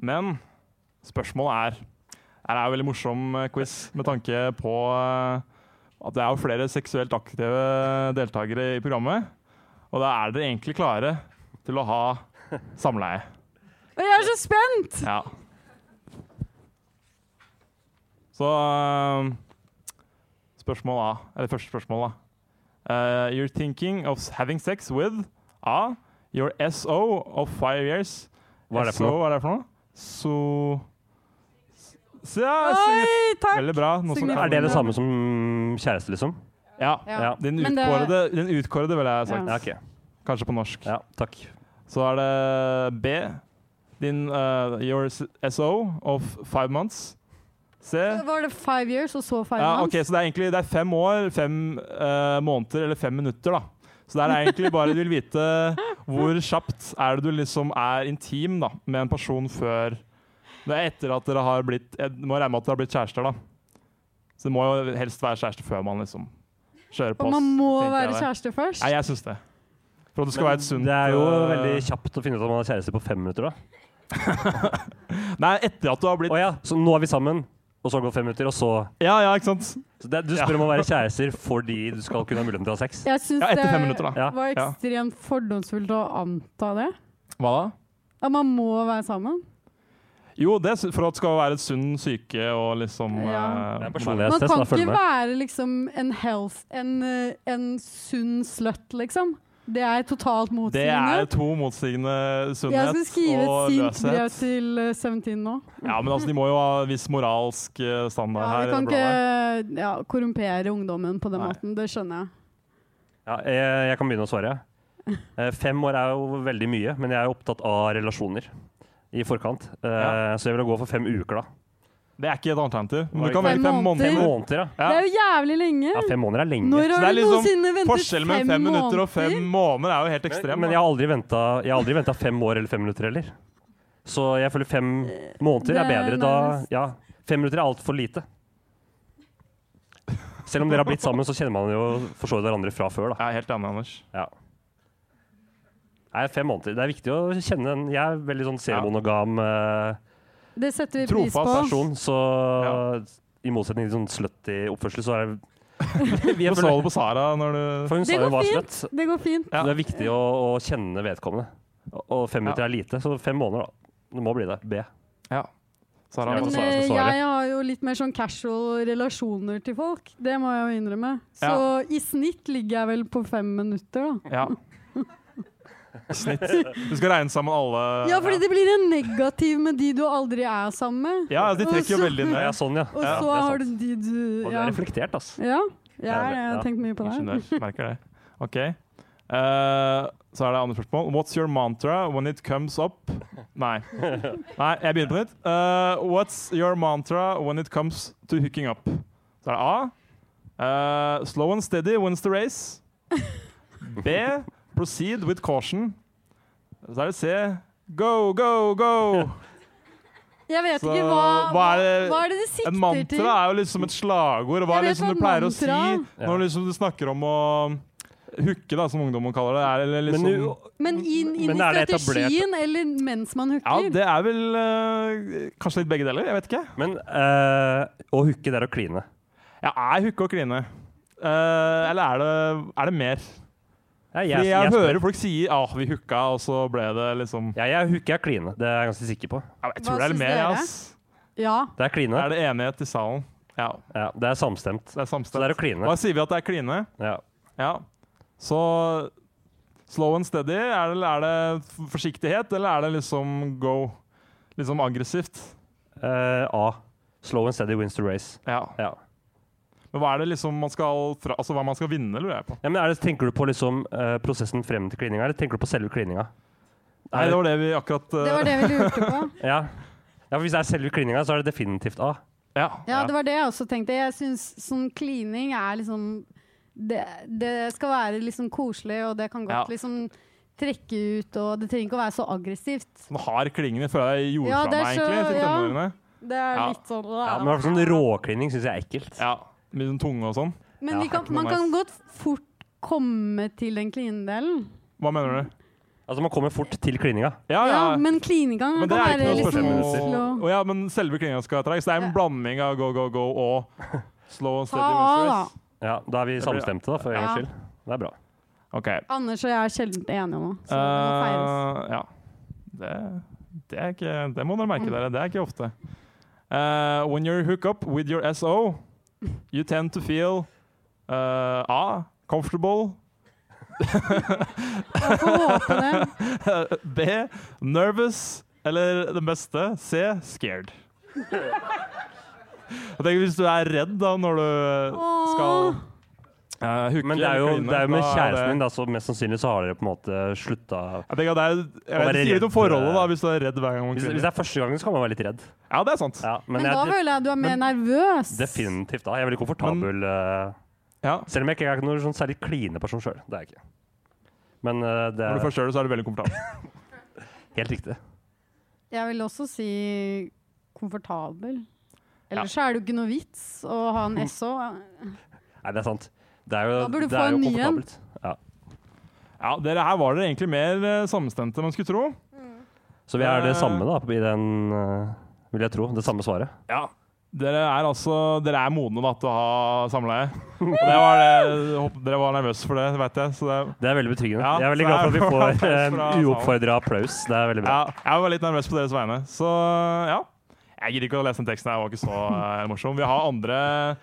Speaker 5: Men spørsmålet er Her er jo en veldig morsom eh, quiz med tanke på eh, at det er jo flere seksuelt aktive deltakere i programmet. Og da er dere egentlig klare til å ha samleie.
Speaker 6: Og jeg er så spent!
Speaker 5: Ja. Så um, Spørsmål A. Eller første spørsmål, da. Uh, you're thinking of having sex with A. Your SO of five years.
Speaker 4: Hva er det for
Speaker 5: SO,
Speaker 4: noe?
Speaker 5: Hva er det for noe? So Så ja, sign-
Speaker 6: Oi, takk!
Speaker 5: Veldig bra. Noe som
Speaker 6: Sign-
Speaker 4: Er det det samme som kjæreste, liksom?
Speaker 5: Ja.
Speaker 6: Ja.
Speaker 4: Ja.
Speaker 5: Den
Speaker 6: Men det-
Speaker 5: utkårede, den utkårede ville jeg sagt.
Speaker 6: Ja.
Speaker 4: Ja, ok.
Speaker 5: Kanskje på norsk.
Speaker 4: Ja, takk.
Speaker 5: Så er det B. Din uh, Your SO of five months. C.
Speaker 6: Var det five years og så five
Speaker 5: Ja,
Speaker 6: months?
Speaker 5: ok, Så det er egentlig det er fem år, fem eh, måneder eller fem minutter, da. Så det er egentlig bare du vil vite hvor kjapt er det du liksom er intim da, med en person før Det er etter at dere har blitt Jeg må regne med at dere har blitt kjærester, da. Så det må jo helst være kjæreste før man liksom kjører på.
Speaker 6: Og man
Speaker 5: ass,
Speaker 6: må
Speaker 5: tenker jeg
Speaker 6: være
Speaker 5: det.
Speaker 6: kjæreste først?
Speaker 5: Nei, jeg syns det. For at det skal være et sunt
Speaker 4: Det er jo
Speaker 5: eh,
Speaker 4: veldig kjapt å finne ut om man har kjæreste på fem minutter, da.
Speaker 5: Nei, etter at du har blitt
Speaker 4: Å ja, så nå er vi sammen, og så har det gått fem minutter, og så
Speaker 5: Ja, ja, ikke sant?
Speaker 4: så det, Du spør om å være kjærester fordi du skal kunne ha muligheten til å ha sex.
Speaker 6: Jeg syns
Speaker 5: Ja, etter fem
Speaker 6: det
Speaker 5: minutter, da.
Speaker 4: Ja.
Speaker 6: var ekstremt fordomsfullt å anta det.
Speaker 5: Hva da?
Speaker 6: At man må være sammen.
Speaker 5: Jo, det er su- for at det skal være et sunn syke og liksom eh,
Speaker 6: Ja.
Speaker 4: Det er en
Speaker 6: Man
Speaker 4: personlighetstest,
Speaker 6: kan
Speaker 4: da. Følg
Speaker 6: ikke
Speaker 4: med.
Speaker 6: være liksom en health En, eh, en sunn slut, liksom. Det er totalt
Speaker 5: Det er
Speaker 6: motsigende.
Speaker 5: to motsigende
Speaker 6: Jeg skal
Speaker 5: sunnhet
Speaker 6: skrive
Speaker 5: og
Speaker 6: et sint brev
Speaker 5: løshet.
Speaker 6: til eh, 17 nå.
Speaker 5: Ja, men altså, De må jo ha viss moralsk eh, standard
Speaker 6: Ja, vi
Speaker 5: her. i
Speaker 6: kan
Speaker 5: det bladet.
Speaker 6: ikke ja, korrumpere ungdommen på den
Speaker 5: Nei.
Speaker 6: måten. Det skjønner jeg.
Speaker 4: Ja, jeg, jeg kan begynne å svare. Eh, Fem år er jo veldig mye, men jeg er jo opptatt av relasjoner i forkant. Eh,
Speaker 5: Ja.
Speaker 4: Så jeg ville gå for fem uker, da.
Speaker 5: Det er ikke et alternativ. Men
Speaker 4: Var
Speaker 5: du kan
Speaker 4: ikke-
Speaker 5: velge
Speaker 6: Fem
Speaker 5: fem
Speaker 6: måneder.
Speaker 4: Fem
Speaker 5: måneder.
Speaker 4: måneder, ja.
Speaker 5: Ja.
Speaker 6: Det er jo jævlig lenge!
Speaker 4: ja fem måneder er lenge.
Speaker 6: Når
Speaker 5: Så det
Speaker 6: har
Speaker 5: er
Speaker 6: du
Speaker 5: liksom
Speaker 6: noensinne ventet
Speaker 5: Forskjellen mellom fem minutter og fem måneder er jo helt ekstrem.
Speaker 4: Men jeg har aldri venta, jeg har aldri venta fem år eller fem minutter heller. Så jeg føler fem måneder
Speaker 6: Eh,
Speaker 4: er
Speaker 6: Det er
Speaker 4: bedre da
Speaker 6: nærmest.
Speaker 4: Ja, fem minutter er altfor lite. Selv om dere har blitt sammen, så kjenner man jo for så vidt hverandre fra før, da.
Speaker 5: Jeg er helt enig, Anders.
Speaker 4: Ja. Nei, fem måneder. Det er viktig å kjenne en Jeg er veldig sånn sermonogam eh,
Speaker 6: Det setter vi pris
Speaker 5: Trofast
Speaker 6: på.
Speaker 4: person, så i motsetning til sånn slutty oppførsel, så er det
Speaker 5: Du så det på Sara når du
Speaker 4: For hun
Speaker 6: Det
Speaker 4: sa
Speaker 6: går
Speaker 4: jo var
Speaker 6: fint.
Speaker 4: slutt.
Speaker 6: Det går fint.
Speaker 5: Ja.
Speaker 4: Så det er viktig å, å kjenne vedkommende. Og- Og fem
Speaker 5: Ja.
Speaker 4: minutter er lite, så fem måneder, da. Det må bli det. B.
Speaker 5: Ja. Sara,
Speaker 4: Ja,
Speaker 6: Men
Speaker 5: altså.
Speaker 4: så svarer jeg
Speaker 6: eh,
Speaker 4: så svarer.
Speaker 6: jeg har jo litt mer sånn casual relasjoner til folk. Det må jeg jo innrømme. Så
Speaker 5: Ja.
Speaker 6: i snitt ligger jeg vel på fem minutter, da.
Speaker 5: ja. Snitt. Du skal regne sammen alle
Speaker 6: Ja, fordi det blir en negativ med de du aldri er sammen med.
Speaker 5: Ja, de trekker jo
Speaker 6: Og så-
Speaker 5: veldig
Speaker 4: Ja, ja,
Speaker 5: ned.
Speaker 4: sånn, ja.
Speaker 6: Og
Speaker 4: ja,
Speaker 6: så
Speaker 4: det er
Speaker 6: har
Speaker 4: sant.
Speaker 6: du de du
Speaker 4: Og du er
Speaker 6: Ja,
Speaker 4: reflektert, altså.
Speaker 6: ja jeg
Speaker 4: Ja,
Speaker 6: er det. Jeg har
Speaker 4: ja.
Speaker 6: tenkt mye på det. her.
Speaker 5: Ingeniør. Merker det. OK. Eh, så er det andre spørsmål. What's your mantra when it comes up Nei. Nei, jeg begynner på nytt. Eh, what's your mantra when it comes to hooking up? Så er det A. eh, slow and steady wins the race. B. Proceed with caution. Så er det C. Go, go, go!
Speaker 6: Jeg vet
Speaker 5: Så
Speaker 6: ikke hva
Speaker 5: hva
Speaker 6: Hva
Speaker 5: er det-
Speaker 6: hva er det de sikter
Speaker 5: En
Speaker 6: til?
Speaker 5: mantra er jo liksom et slagord. Hva
Speaker 6: Jeg
Speaker 5: er
Speaker 6: vet
Speaker 5: liksom
Speaker 6: hva
Speaker 5: du pleier å si
Speaker 6: sånn mantra-
Speaker 5: når liksom du snakker om å hooke, da, som ungdommen kaller det? Er, eller
Speaker 4: Men
Speaker 5: liksom,
Speaker 4: nu,
Speaker 6: Men inn, inn
Speaker 4: Men
Speaker 6: i
Speaker 4: er det etablert-
Speaker 6: strategien, eller mens man hooker?
Speaker 5: ja, det er vel eh, kanskje litt begge deler. Jeg vet ikke.
Speaker 4: men eh, å hooke, det er å kline.
Speaker 5: Ja, er hooke og kline? Eh, eller er det, er det mer?
Speaker 4: Ja,
Speaker 5: Fordi jeg, hører folk si ah, 'vi hooka', og så ble det liksom
Speaker 4: Ja, jeg hooker, jeg kline. Det er jeg ganske sikker på.
Speaker 5: ja, Jeg
Speaker 6: Hva
Speaker 5: tror det er
Speaker 6: syns
Speaker 5: mer,
Speaker 6: dere?
Speaker 5: ass.
Speaker 6: Ja.
Speaker 4: Det er kline.
Speaker 5: Er det enighet i salen? Ja,
Speaker 4: Ja, det er samstemt.
Speaker 5: det er
Speaker 4: Så det
Speaker 5: samstemt.
Speaker 4: er å kline.
Speaker 5: Da sier vi at det er kline.
Speaker 4: Ja.
Speaker 5: Ja. Så slow and steady, er det, er det f- forsiktighet, eller er det liksom go? Liksom aggressivt?
Speaker 4: Eh, A. Slow and steady wins the race.
Speaker 5: Ja.
Speaker 4: Ja.
Speaker 5: Men hva er det liksom man skal fra, Altså hva man skal vinne, lurer jeg på.
Speaker 4: Ja, men er det, tenker du på liksom eh, prosessen frem til klininga, eller tenker du på selve klininga?
Speaker 5: Nei, det var det vi akkurat eh,
Speaker 6: Det var det vi lurte på.
Speaker 4: Ja. ja, for hvis det er selve klininga, så er det definitivt A.
Speaker 5: Ja.
Speaker 6: Ja, det var det jeg også tenkte. Jeg syns sånn klining er liksom det, det skal være liksom koselig, og det kan godt
Speaker 5: Ja.
Speaker 6: liksom trekke ut, og det trenger ikke å være så aggressivt.
Speaker 5: Sånn hard klingende før jeg gjorde
Speaker 6: Ja,
Speaker 5: fra
Speaker 6: det er
Speaker 5: meg,
Speaker 6: så-
Speaker 5: egentlig, til
Speaker 6: ja.
Speaker 5: tenårene.
Speaker 6: Det er
Speaker 5: Ja.
Speaker 6: litt sånn
Speaker 4: Ja, men i hvert fall sånn råklining syns jeg er ekkelt.
Speaker 5: Ja. Med sånn tunge og sånn.
Speaker 6: Men
Speaker 4: Ja,
Speaker 6: vi kan,
Speaker 5: ikke noe
Speaker 6: man kan godt fort komme til den klinedelen.
Speaker 5: Hva mener du?
Speaker 4: Altså, man kommer fort til klininga.
Speaker 5: Ja,
Speaker 6: Ja,
Speaker 5: ja.
Speaker 6: men klininga
Speaker 5: Men
Speaker 6: kan
Speaker 5: det er ikke
Speaker 6: være
Speaker 5: noe
Speaker 6: litt sånn
Speaker 5: spørsmål.
Speaker 6: slow.
Speaker 5: Å ja, men selve klinga skal være treig, så det er en
Speaker 6: Ja.
Speaker 5: blanding av go, go, go og slow and
Speaker 6: Ta
Speaker 5: steady
Speaker 6: av,
Speaker 5: wins
Speaker 6: da.
Speaker 5: race.
Speaker 4: Ja, da er vi
Speaker 5: blir-
Speaker 4: samstemte, da, for en
Speaker 6: Ja.
Speaker 4: gangs skyld. Det er bra.
Speaker 5: Ok.
Speaker 6: Anders og jeg er sjelden enige om noe. Så det må feires.
Speaker 5: Eh,
Speaker 6: Mm.
Speaker 5: ja. Det, det, er ikke, det må dere merke dere. Det er ikke ofte. Eh, when you hook up with your SO, you tend to feel eh, A. Comfortable.
Speaker 6: Jeg får håpe
Speaker 5: <laughs>
Speaker 6: det.
Speaker 5: B. Nervous. Eller den beste, C. Scared. Jeg tenker Hvis du er redd da når du skal
Speaker 6: Åh.
Speaker 5: eh, hooke
Speaker 4: Men det er jo,
Speaker 5: eller kline,
Speaker 4: det er jo med
Speaker 5: da
Speaker 4: kjæresten
Speaker 5: det-
Speaker 4: din, da, så mest sannsynlig så har dere på en måte slutta
Speaker 5: Jeg tenker at det er, jeg
Speaker 4: Å
Speaker 5: vet,
Speaker 4: være
Speaker 5: det sier litt om
Speaker 4: redd,
Speaker 5: forholdet da,
Speaker 4: eh,
Speaker 5: hvis du er redd hver gang man
Speaker 4: hvis, hvis
Speaker 5: kliner.
Speaker 4: det er første gangen, så kan man være litt redd.
Speaker 5: Ja, det er sant.
Speaker 4: Ja, men,
Speaker 6: Men da
Speaker 4: jeg,
Speaker 6: føler jeg du er mer nervøs.
Speaker 4: definitivt da. Jeg er veldig komfortabel. eh,
Speaker 5: Ja.
Speaker 4: selv om jeg ikke er noen sånn særlig klineperson sjøl. Det er jeg ikke. Men eh, det
Speaker 5: Når du
Speaker 4: er
Speaker 5: først gjør det, så er du veldig komfortabel.
Speaker 4: helt riktig.
Speaker 6: Jeg vil også si komfortabel. Ellers så er det jo ikke noe vits å ha
Speaker 4: <laughs>
Speaker 6: en SO.
Speaker 4: Nei, det er sant. Det er jo,
Speaker 6: Da burde du
Speaker 4: det
Speaker 6: få
Speaker 4: er jo
Speaker 6: en ny en.
Speaker 4: komfortabelt. Ja.
Speaker 5: Ja, dere her var dere egentlig mer eh, samstemte enn man skulle tro.
Speaker 4: Så vi er
Speaker 5: Eh.
Speaker 4: det samme da, i den eh, Vil jeg tro. Det samme svaret.
Speaker 5: Ja. Dere er altså Dere er modne da, til å ha samleie. Og Det var det, jeg håper dere var nervøse for det, vet jeg. Så det,
Speaker 4: Det er veldig betryggende.
Speaker 5: Ja,
Speaker 4: jeg er veldig
Speaker 5: så
Speaker 4: glad for at vi
Speaker 5: det
Speaker 4: får
Speaker 5: er <laughs>
Speaker 4: en
Speaker 5: applaus fra
Speaker 4: uoppfordra applaus. Det er veldig bra.
Speaker 5: ja, jeg var litt nervøs på deres vegne. Så ja. Jeg gidder ikke å lese den teksten, her, den var ikke så eh, morsom. Vi har andre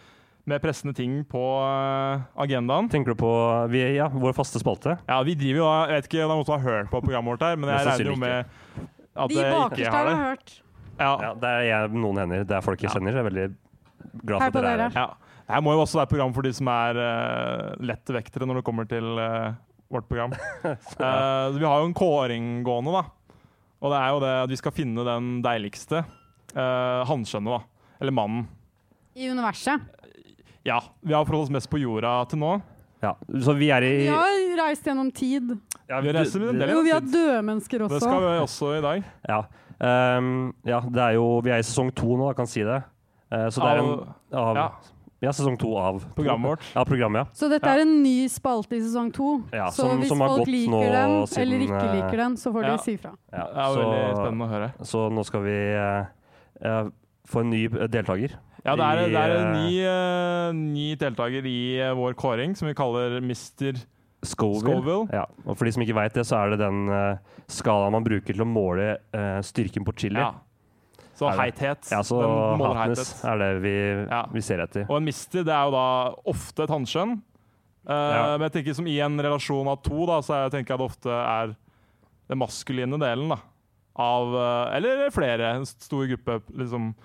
Speaker 5: mer pressende ting på eh, agendaen.
Speaker 4: Tenker du på vi, ja, vår faste spalte?
Speaker 5: Ja, vi driver jo Jeg vet ikke om måtte ha hørt på programmet vårt her, men jeg
Speaker 4: Mest
Speaker 5: regner jo
Speaker 4: sannsynlig
Speaker 5: med at
Speaker 6: De
Speaker 5: dere
Speaker 6: bakerste
Speaker 5: ikke
Speaker 6: har
Speaker 5: har
Speaker 6: du
Speaker 5: det.
Speaker 6: hørt.
Speaker 5: Ja.
Speaker 4: Ja, det er jeg, noen hender. Det er folk jeg
Speaker 5: Ja.
Speaker 4: kjenner. så Jeg er veldig glad
Speaker 6: Hei
Speaker 4: for at
Speaker 6: på
Speaker 4: dere er
Speaker 6: dere.
Speaker 4: her.
Speaker 5: Ja. Det her må jo også være et program for de som er eh, lette vektere når det kommer til eh, vårt
Speaker 4: <laughs>
Speaker 5: program. Eh, vi har jo en kåring gående, da. Og det er jo det at vi skal finne den deiligste uh, hanskjønnet, da. Eller mannen.
Speaker 6: I universet.
Speaker 5: Ja. Vi har forholdt oss mest på jorda til nå.
Speaker 4: Ja. Så vi er i
Speaker 6: Vi har reist gjennom tid.
Speaker 4: Ja,
Speaker 5: vi reiser med en del.
Speaker 6: Jo, vi har døde mennesker
Speaker 5: Det
Speaker 6: også.
Speaker 5: skal vi også i dag.
Speaker 4: Ja. Ehm, ja, det er jo Vi er i sesong to nå, jeg kan si det. Eh, så det er en
Speaker 5: Av-
Speaker 4: av,
Speaker 5: ja,
Speaker 4: Ja, sesong to av
Speaker 5: Programmet vårt.
Speaker 4: Ja, programmet, ja.
Speaker 6: Så dette er en ny spalte i sesong to.
Speaker 4: Ja,
Speaker 6: så
Speaker 4: som-
Speaker 6: hvis
Speaker 4: som har
Speaker 6: folk
Speaker 4: gått
Speaker 6: liker
Speaker 4: nå
Speaker 6: den,
Speaker 4: siden,
Speaker 6: eller ikke
Speaker 4: eh,
Speaker 6: liker den, så får
Speaker 5: ja.
Speaker 6: de si fra.
Speaker 4: ja.
Speaker 5: Det er veldig spennende å høre.
Speaker 4: så, så nå skal vi eh, eh, få en ny eh, deltaker.
Speaker 5: Ja, det er, det er en
Speaker 4: I,
Speaker 5: ny, eh, ny deltaker i eh, vår kåring, som vi kaller Mister
Speaker 4: Scoville.
Speaker 5: Scoville.
Speaker 4: Ja. Og for de som ikke veit det, så er det den eh, skalaen man bruker til å måle eh, styrken på chili.
Speaker 5: Ja.
Speaker 4: Ja,
Speaker 5: Så
Speaker 4: Er det?
Speaker 5: heithet.
Speaker 4: så
Speaker 5: Den måler
Speaker 4: hotness
Speaker 5: heithet.
Speaker 4: er det vi,
Speaker 5: Ja.
Speaker 4: vi ser etter.
Speaker 5: Og en mister, det er jo da ofte et hanskjønn. Eh,
Speaker 4: Ja.
Speaker 5: Men jeg tenker som i en relasjon av to, da, så jeg tenker jeg det ofte er den maskuline delen. da. Av eh, Eller flere. En stor gruppe, liksom.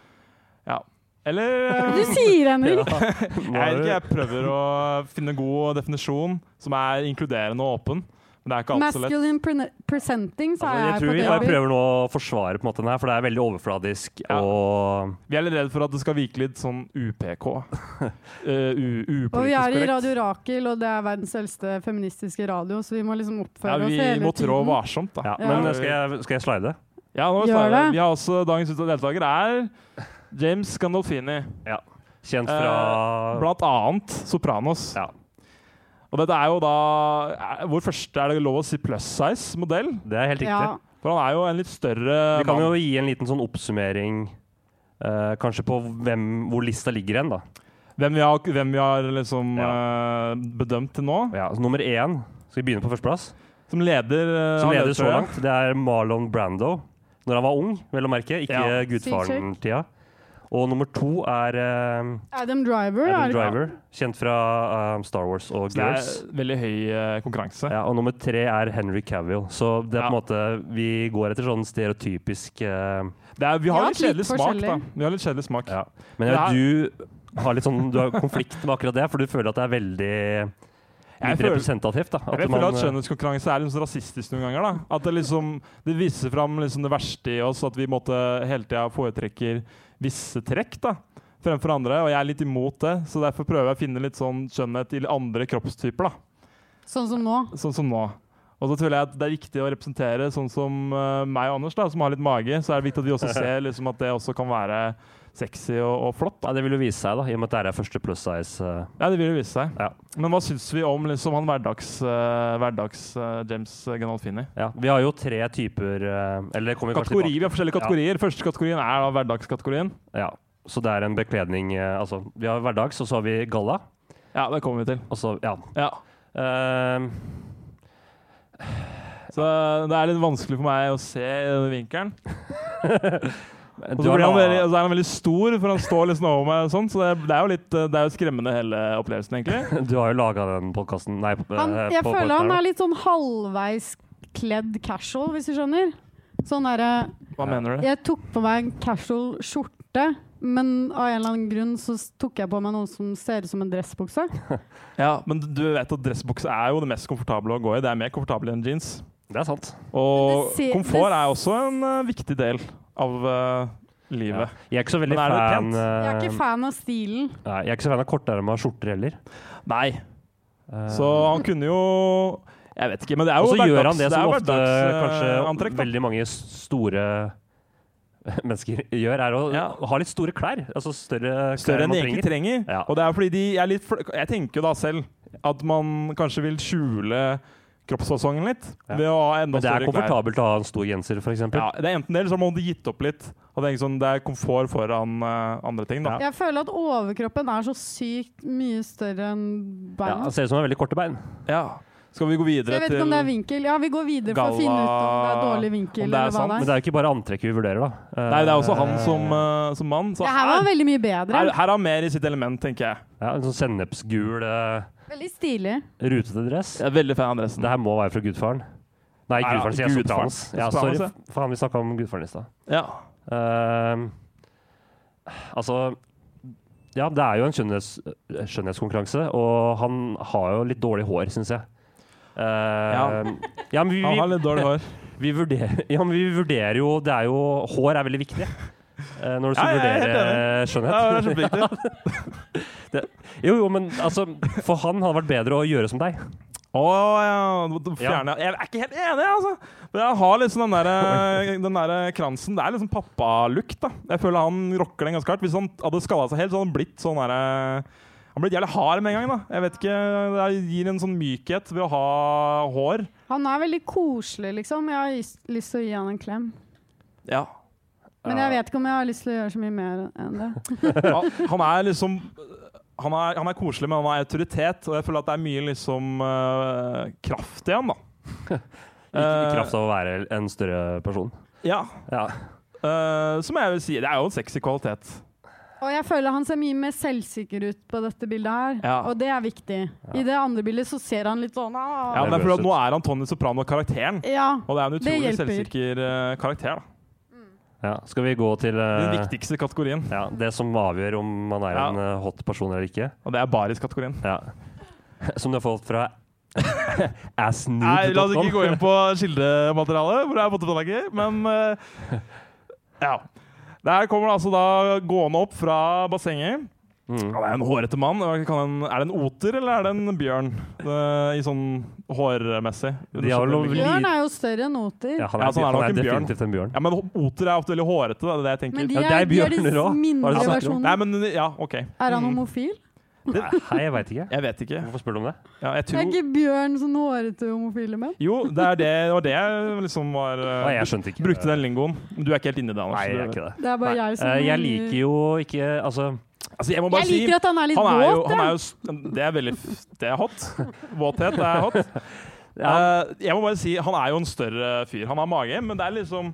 Speaker 5: Ja. Eller
Speaker 6: <laughs> Du
Speaker 5: eh,
Speaker 6: sier, Henrik!
Speaker 4: Nå
Speaker 5: Jeg
Speaker 4: er
Speaker 5: vet ikke,
Speaker 4: det-
Speaker 5: jeg prøver å finne en god definisjon som er inkluderende og åpen. Men det er ikke alltid så lett.
Speaker 6: Masculine pre presenting, sa
Speaker 4: Altså, jeg
Speaker 6: jeg.
Speaker 4: tror vi
Speaker 6: på
Speaker 4: bare
Speaker 6: det.
Speaker 4: prøver nå å forsvare på en måte den her, for det er veldig overfladisk
Speaker 5: Ja.
Speaker 4: og
Speaker 5: Vi er litt redd for at det skal virke litt sånn UPK.
Speaker 4: <laughs>
Speaker 5: Eh, u- upolitisk
Speaker 6: Og vi er i
Speaker 5: korrekt.
Speaker 6: Radio Rakel, og det er verdens eldste feministiske radio, så vi må liksom
Speaker 5: Ja,
Speaker 6: oppføre oss
Speaker 5: vi
Speaker 6: hele
Speaker 5: må
Speaker 6: tiden.
Speaker 5: trå varsomt, da.
Speaker 4: ja.
Speaker 6: Ja.
Speaker 4: Men eh, skal jeg, skal jeg slide?
Speaker 5: Ja, nå
Speaker 6: Gjør
Speaker 5: svarer jeg.
Speaker 6: det.
Speaker 5: Vi har også dagens ut- deltaker er James Gandolfini.
Speaker 4: Kjent fra
Speaker 5: Blant annet Sopranos.
Speaker 4: Ja.
Speaker 5: Og dette er jo da er- Hvor første er det lov å si plus size-modell?
Speaker 4: Det er helt riktig.
Speaker 6: Ja.
Speaker 5: For han er jo en litt større
Speaker 4: Vi kan jo
Speaker 5: mann.
Speaker 4: gi en liten sånn oppsummering eh, kanskje på hvem, hvor lista ligger hen, da.
Speaker 5: Hvem vi har, hvem vi har liksom eh, bedømt til nå.
Speaker 4: Ja, så nummer én Skal vi begynne på førsteplass?
Speaker 5: Som leder eh,
Speaker 4: Som
Speaker 5: av
Speaker 4: leder så
Speaker 5: deltakerne.
Speaker 4: langt. Det er Marlon Brando. Når han var ung, vel å merke. Ikke
Speaker 5: Ja.
Speaker 4: gudfaren-tida. Og nummer to er eh,
Speaker 6: Adam Driver. er
Speaker 4: Adam
Speaker 6: det-
Speaker 4: Driver, kjent fra eh, Star Wars og
Speaker 5: Det er
Speaker 4: Girls.
Speaker 5: veldig høy eh, konkurranse.
Speaker 4: Ja, og nummer tre er Henry Cavill. Så det er på en
Speaker 5: Ja.
Speaker 4: måte Vi går etter sånn stereotypisk eh,
Speaker 5: Det er, vi
Speaker 6: Ja,
Speaker 5: har litt
Speaker 6: litt
Speaker 5: kjedelig smak, da.
Speaker 6: forskjellig.
Speaker 5: Vi har litt kjedelig smak.
Speaker 4: ja. Men ja,
Speaker 5: Ja.
Speaker 4: du har litt sånn Du har konflikt med akkurat det, for du føler at det er veldig
Speaker 5: Jeg
Speaker 4: litt
Speaker 5: føler-
Speaker 4: representativt. da
Speaker 5: Jeg
Speaker 4: at
Speaker 5: føler
Speaker 4: man, eh,
Speaker 5: at skjønnhetskonkurranse er litt sånn rasistisk noen ganger. da. At det liksom, det viser fram liksom det verste i oss, at vi måtte hele tida foretrekker visse trekk da, fremfor andre. Og jeg er litt imot det, så derfor prøver jeg å finne litt sånn skjønnhet i andre kroppstyper. da,
Speaker 6: Sånn som nå.
Speaker 5: Sånn som nå. Og så føler jeg at det er viktig å representere sånn som eh, meg og Anders, da, som har litt mage. Så er det viktig at vi
Speaker 4: <laughs>
Speaker 5: også ser liksom, at det også kan være sexy og, og flott.
Speaker 4: ja, det vil jo vise seg, da, i og med at det er første plus size. eh,
Speaker 5: Ja, det vil jo vise seg.
Speaker 4: Ja.
Speaker 5: Men hva syns vi om liksom, han hverdags, eh, hverdags eh, James Gandalfini?
Speaker 4: ja. Vi har jo tre typer eh, Eller det kommer vi kanskje
Speaker 5: Kategori,
Speaker 4: tilbake
Speaker 5: vi har forskjellige kategorier. Første kategorien er da hverdagskategorien.
Speaker 4: Ja. Så det er en bekledning eh, Altså, vi har hverdags, og så har vi galla.
Speaker 5: Ja, det kommer vi til.
Speaker 4: Og så, ja.
Speaker 5: Ja.
Speaker 4: Eh,
Speaker 5: Så eh, det er litt vanskelig for meg å se i denne vinkelen. Og
Speaker 4: du
Speaker 5: så
Speaker 4: har
Speaker 5: blir han
Speaker 4: la-
Speaker 5: veldig, og så er han veldig stor, for han står liksom over meg, og sånn, så det, det er jo litt eh, Det er jo skremmende, hele opplevelsen, egentlig.
Speaker 4: Du har jo laga den podkasten Nei, eh,
Speaker 6: Han, jeg føler han er litt sånn halvveis kledd casual, hvis du skjønner. Sånn derre
Speaker 5: Hva
Speaker 4: Ja.
Speaker 5: mener du?
Speaker 6: Jeg tok på meg en casual skjorte, men av en eller annen grunn så s- tok jeg på meg noe som ser ut som en dressbukse.
Speaker 5: Ja, Men du vet at dressbukse er jo det mest komfortable å gå i. Det er mer komfortabelt enn jeans.
Speaker 4: Det er sant.
Speaker 5: Og
Speaker 6: Men det ser-
Speaker 5: komfort
Speaker 6: det-
Speaker 5: er også en eh, viktig del av eh, livet.
Speaker 4: Jeg er ikke så veldig
Speaker 5: Men er det
Speaker 4: fan
Speaker 5: pent?
Speaker 6: Jeg er
Speaker 4: eh,
Speaker 6: ikke fan av stilen.
Speaker 4: nei, Jeg er ikke så fan av korterma skjorter heller.
Speaker 5: Nei.
Speaker 4: Eh,
Speaker 5: Så han kunne jo Jeg vet ikke, men det er
Speaker 4: og
Speaker 5: jo
Speaker 4: så gjør han
Speaker 5: hverdags-
Speaker 4: det som
Speaker 5: er
Speaker 4: ofte kanskje
Speaker 5: hverdagsantrekk, da.
Speaker 4: veldig mange s- store <laughs> mennesker gjør, er å
Speaker 5: Ja.
Speaker 4: ha litt store klær. Altså større klær
Speaker 5: Større enn
Speaker 4: man
Speaker 5: de egentlig
Speaker 4: trenger.
Speaker 5: trenger.
Speaker 4: Ja.
Speaker 5: Og det er fordi de er litt fl Jeg tenker jo da selv at man kanskje vil skjule kroppsfasongen litt
Speaker 4: Ja.
Speaker 5: ved å ha enda
Speaker 4: Men det er
Speaker 5: større klær.
Speaker 4: komfortabelt å ha en stor genser, f.eks.
Speaker 5: Ja, det er enten det, eller så må du gitt opp litt. Og tenke sånn, Det er komfort foran eh, andre ting, da.
Speaker 6: Jeg føler at overkroppen er så sykt mye større enn
Speaker 4: Ja, altså,
Speaker 6: beina.
Speaker 4: han ser ut som han har veldig korte bein.
Speaker 5: Ja. Skal vi gå
Speaker 6: Så jeg
Speaker 5: videre
Speaker 6: vet
Speaker 5: til
Speaker 6: ikke om det er vinkel. Ja, vi går videre for å
Speaker 5: Galla-
Speaker 6: finne ut om det er dårlig vinkel
Speaker 5: om det er
Speaker 6: eller hva
Speaker 5: sant,
Speaker 6: det
Speaker 4: Men
Speaker 6: er.
Speaker 4: det er jo ikke bare antrekket vi vurderer, da. Eh,
Speaker 5: Nei, det er også han som, eh, som mann. Så
Speaker 6: Det her var
Speaker 5: her,
Speaker 6: veldig mye
Speaker 5: her,
Speaker 6: bedre.
Speaker 5: her er han mer i sitt element, tenker jeg.
Speaker 4: ja, En sånn sennepsgul, eh,
Speaker 6: Veldig stilig.
Speaker 4: rutete dress.
Speaker 5: Jeg er veldig fan av dressen.
Speaker 4: Det her må være fra gudfaren. Nei,
Speaker 5: Nei,
Speaker 4: gudfaren sier
Speaker 5: Gudfaren.
Speaker 4: Sopranos. Ja, sorry,
Speaker 5: Sopranos,
Speaker 4: faen, vi snakka om gudfaren i stad.
Speaker 5: Ja.
Speaker 4: Ehm, altså Ja, det er jo en skjønnhets, skjønnhetskonkurranse, og han har jo litt dårlig hår, syns jeg. Ehm, ja. men vi,
Speaker 5: Han har
Speaker 4: vi,
Speaker 5: litt
Speaker 4: <laughs>
Speaker 5: dårlig hår.
Speaker 4: vi, vurderer, <laughs> ja, men vi vurderer jo Det er jo Hår er veldig viktig eh, når du
Speaker 5: Ja,
Speaker 4: skal
Speaker 5: jeg er helt
Speaker 4: vurdere eh,
Speaker 5: Ja,
Speaker 4: skjønnhet.
Speaker 5: det er kjempeviktig.
Speaker 4: Jo, jo, men altså For han hadde vært bedre å gjøre som deg.
Speaker 5: Å ja. du Fjerne. Jeg er ikke helt enig, altså. Men jeg har liksom <laughs> den der, den der kransen. Det er liksom pappalukt, da. Jeg føler han rocker den ganske hardt. Hvis han hadde skalla seg helt, så hadde han blitt sånn derre Han blitt jævlig hard med en gang, da. Jeg vet ikke. Det gir en sånn mykhet ved å ha hår.
Speaker 6: Han er veldig koselig, liksom. Jeg har lyst- lyst til å gi han en klem.
Speaker 5: Ja.
Speaker 6: Men jeg vet ikke om jeg har lyst til å gjøre så mye mer enn det.
Speaker 5: Han, han er liksom han er, han er koselig, men han har autoritet, og jeg føler at det er mye liksom eh, kraft i han, da.
Speaker 4: I,
Speaker 5: Eh,
Speaker 4: I kraft av å være en større person.
Speaker 5: Ja.
Speaker 4: Ja.
Speaker 5: Eh, som jeg vil si, det er jo en sexy kvalitet.
Speaker 6: Og jeg føler han ser mye mer selvsikker ut på dette bildet her,
Speaker 5: Ja.
Speaker 6: og det er viktig. I det andre bildet så ser han litt sånn
Speaker 5: Ja,
Speaker 6: ah.
Speaker 5: men det er fordi at Nå er han Tony Soprano-karakteren,
Speaker 6: Ja.
Speaker 5: og det er en
Speaker 6: Det
Speaker 5: utrolig
Speaker 6: hjelper.
Speaker 5: selvsikker eh, karakter. da.
Speaker 4: ja. Skal vi gå til
Speaker 5: Den
Speaker 4: eh,
Speaker 5: viktigste kategorien,
Speaker 4: ja, det som avgjør om man er
Speaker 5: Ja.
Speaker 4: en eh, hot person eller ikke?
Speaker 5: og det er baris-kategorien.
Speaker 4: Ja. <laughs> Som du har fått fra <laughs>
Speaker 5: Nei, La oss ikke
Speaker 4: assnude.com.
Speaker 5: gå inn på kildematerialet, hvor det er fotoblader, men eh, ja. Der kommer det altså da gående opp fra bassenget.
Speaker 4: Mm.
Speaker 5: Han er en hårete mann. Hva kan en- Er det en oter eller er det en bjørn? Eh, I sånn hårmessig.
Speaker 4: De har vel noe-
Speaker 6: Bjørn er jo større enn oter.
Speaker 4: <laughs> Ja, han er,
Speaker 5: Ja, så han er
Speaker 4: han
Speaker 5: nok
Speaker 4: er
Speaker 5: en bjørn.
Speaker 4: definitivt en bjørn.
Speaker 5: Ja, men oter er ofte veldig hårete. Da, det er det jeg tenker.
Speaker 6: Men de
Speaker 4: Ja,
Speaker 6: er,
Speaker 4: det er
Speaker 6: de er
Speaker 4: bjørner
Speaker 6: de
Speaker 4: også. Hva er det
Speaker 6: mindre
Speaker 4: du snakker om?
Speaker 5: Nei,
Speaker 6: versjonene.
Speaker 5: men ja, OK. Mm.
Speaker 6: Er han homofil?
Speaker 4: Nei, jeg veit ikke.
Speaker 5: Jeg vet ikke.
Speaker 4: Hvorfor spør du om det?
Speaker 5: Ja, jeg
Speaker 6: Er
Speaker 5: tror
Speaker 6: ikke bjørn sånn hårete homofile menn?
Speaker 5: Jo, det er det, det var det jeg liksom var eh,
Speaker 4: Nei, jeg skjønte ikke.
Speaker 5: Brukte den lingoen. Du er ikke helt inne i det, Anders.
Speaker 4: Nei, jeg er
Speaker 5: Du-
Speaker 4: ikke det.
Speaker 6: Det er bare
Speaker 4: Nei.
Speaker 6: jeg som
Speaker 4: Eh, Jeg liker jo ikke Altså,
Speaker 5: Altså, jeg må bare
Speaker 6: Jeg liker
Speaker 5: si
Speaker 6: at han er litt
Speaker 5: han er, jo,
Speaker 6: våt.
Speaker 5: han er
Speaker 6: jeg.
Speaker 5: jo s- Det er veldig f- Det er hot. Våthet er hot.
Speaker 6: <laughs>
Speaker 4: ja,
Speaker 5: Eh, jeg må bare si han er jo en større fyr. Han har mage, men det er liksom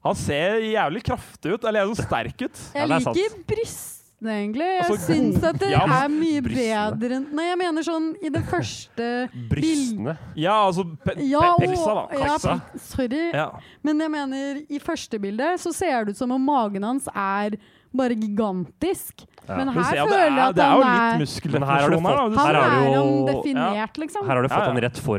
Speaker 5: Han ser jævlig kraftig ut. Eller sånn sterk ut.
Speaker 6: Jeg
Speaker 4: det er sant.
Speaker 6: liker brystene, egentlig. Jeg
Speaker 5: Altså,
Speaker 6: syns at det
Speaker 5: ja,
Speaker 6: er mye
Speaker 4: brystene.
Speaker 6: bedre enn Nei, jeg mener sånn i det første
Speaker 4: Brystene.
Speaker 5: Ja, altså pe
Speaker 6: Ja,
Speaker 5: pe peksa, da.
Speaker 6: og- ja,
Speaker 5: Peksa.
Speaker 6: pe- sorry.
Speaker 5: Ja.
Speaker 6: Men jeg mener, i første bildet så ser det ut som om magen hans er bare gigantisk.
Speaker 5: Men
Speaker 6: Men her
Speaker 5: se, ja,
Speaker 6: føler jeg at
Speaker 5: det er jo litt
Speaker 6: han er
Speaker 4: Men her har du
Speaker 5: muskeldetonasjon her. da,
Speaker 4: fått-
Speaker 5: du
Speaker 6: Han
Speaker 4: Her har
Speaker 5: ser.
Speaker 4: du
Speaker 6: er
Speaker 4: jo-
Speaker 6: jo
Speaker 4: ja.
Speaker 6: definert, liksom.
Speaker 4: Her har du fått
Speaker 5: Ja, ja.
Speaker 4: han rett for,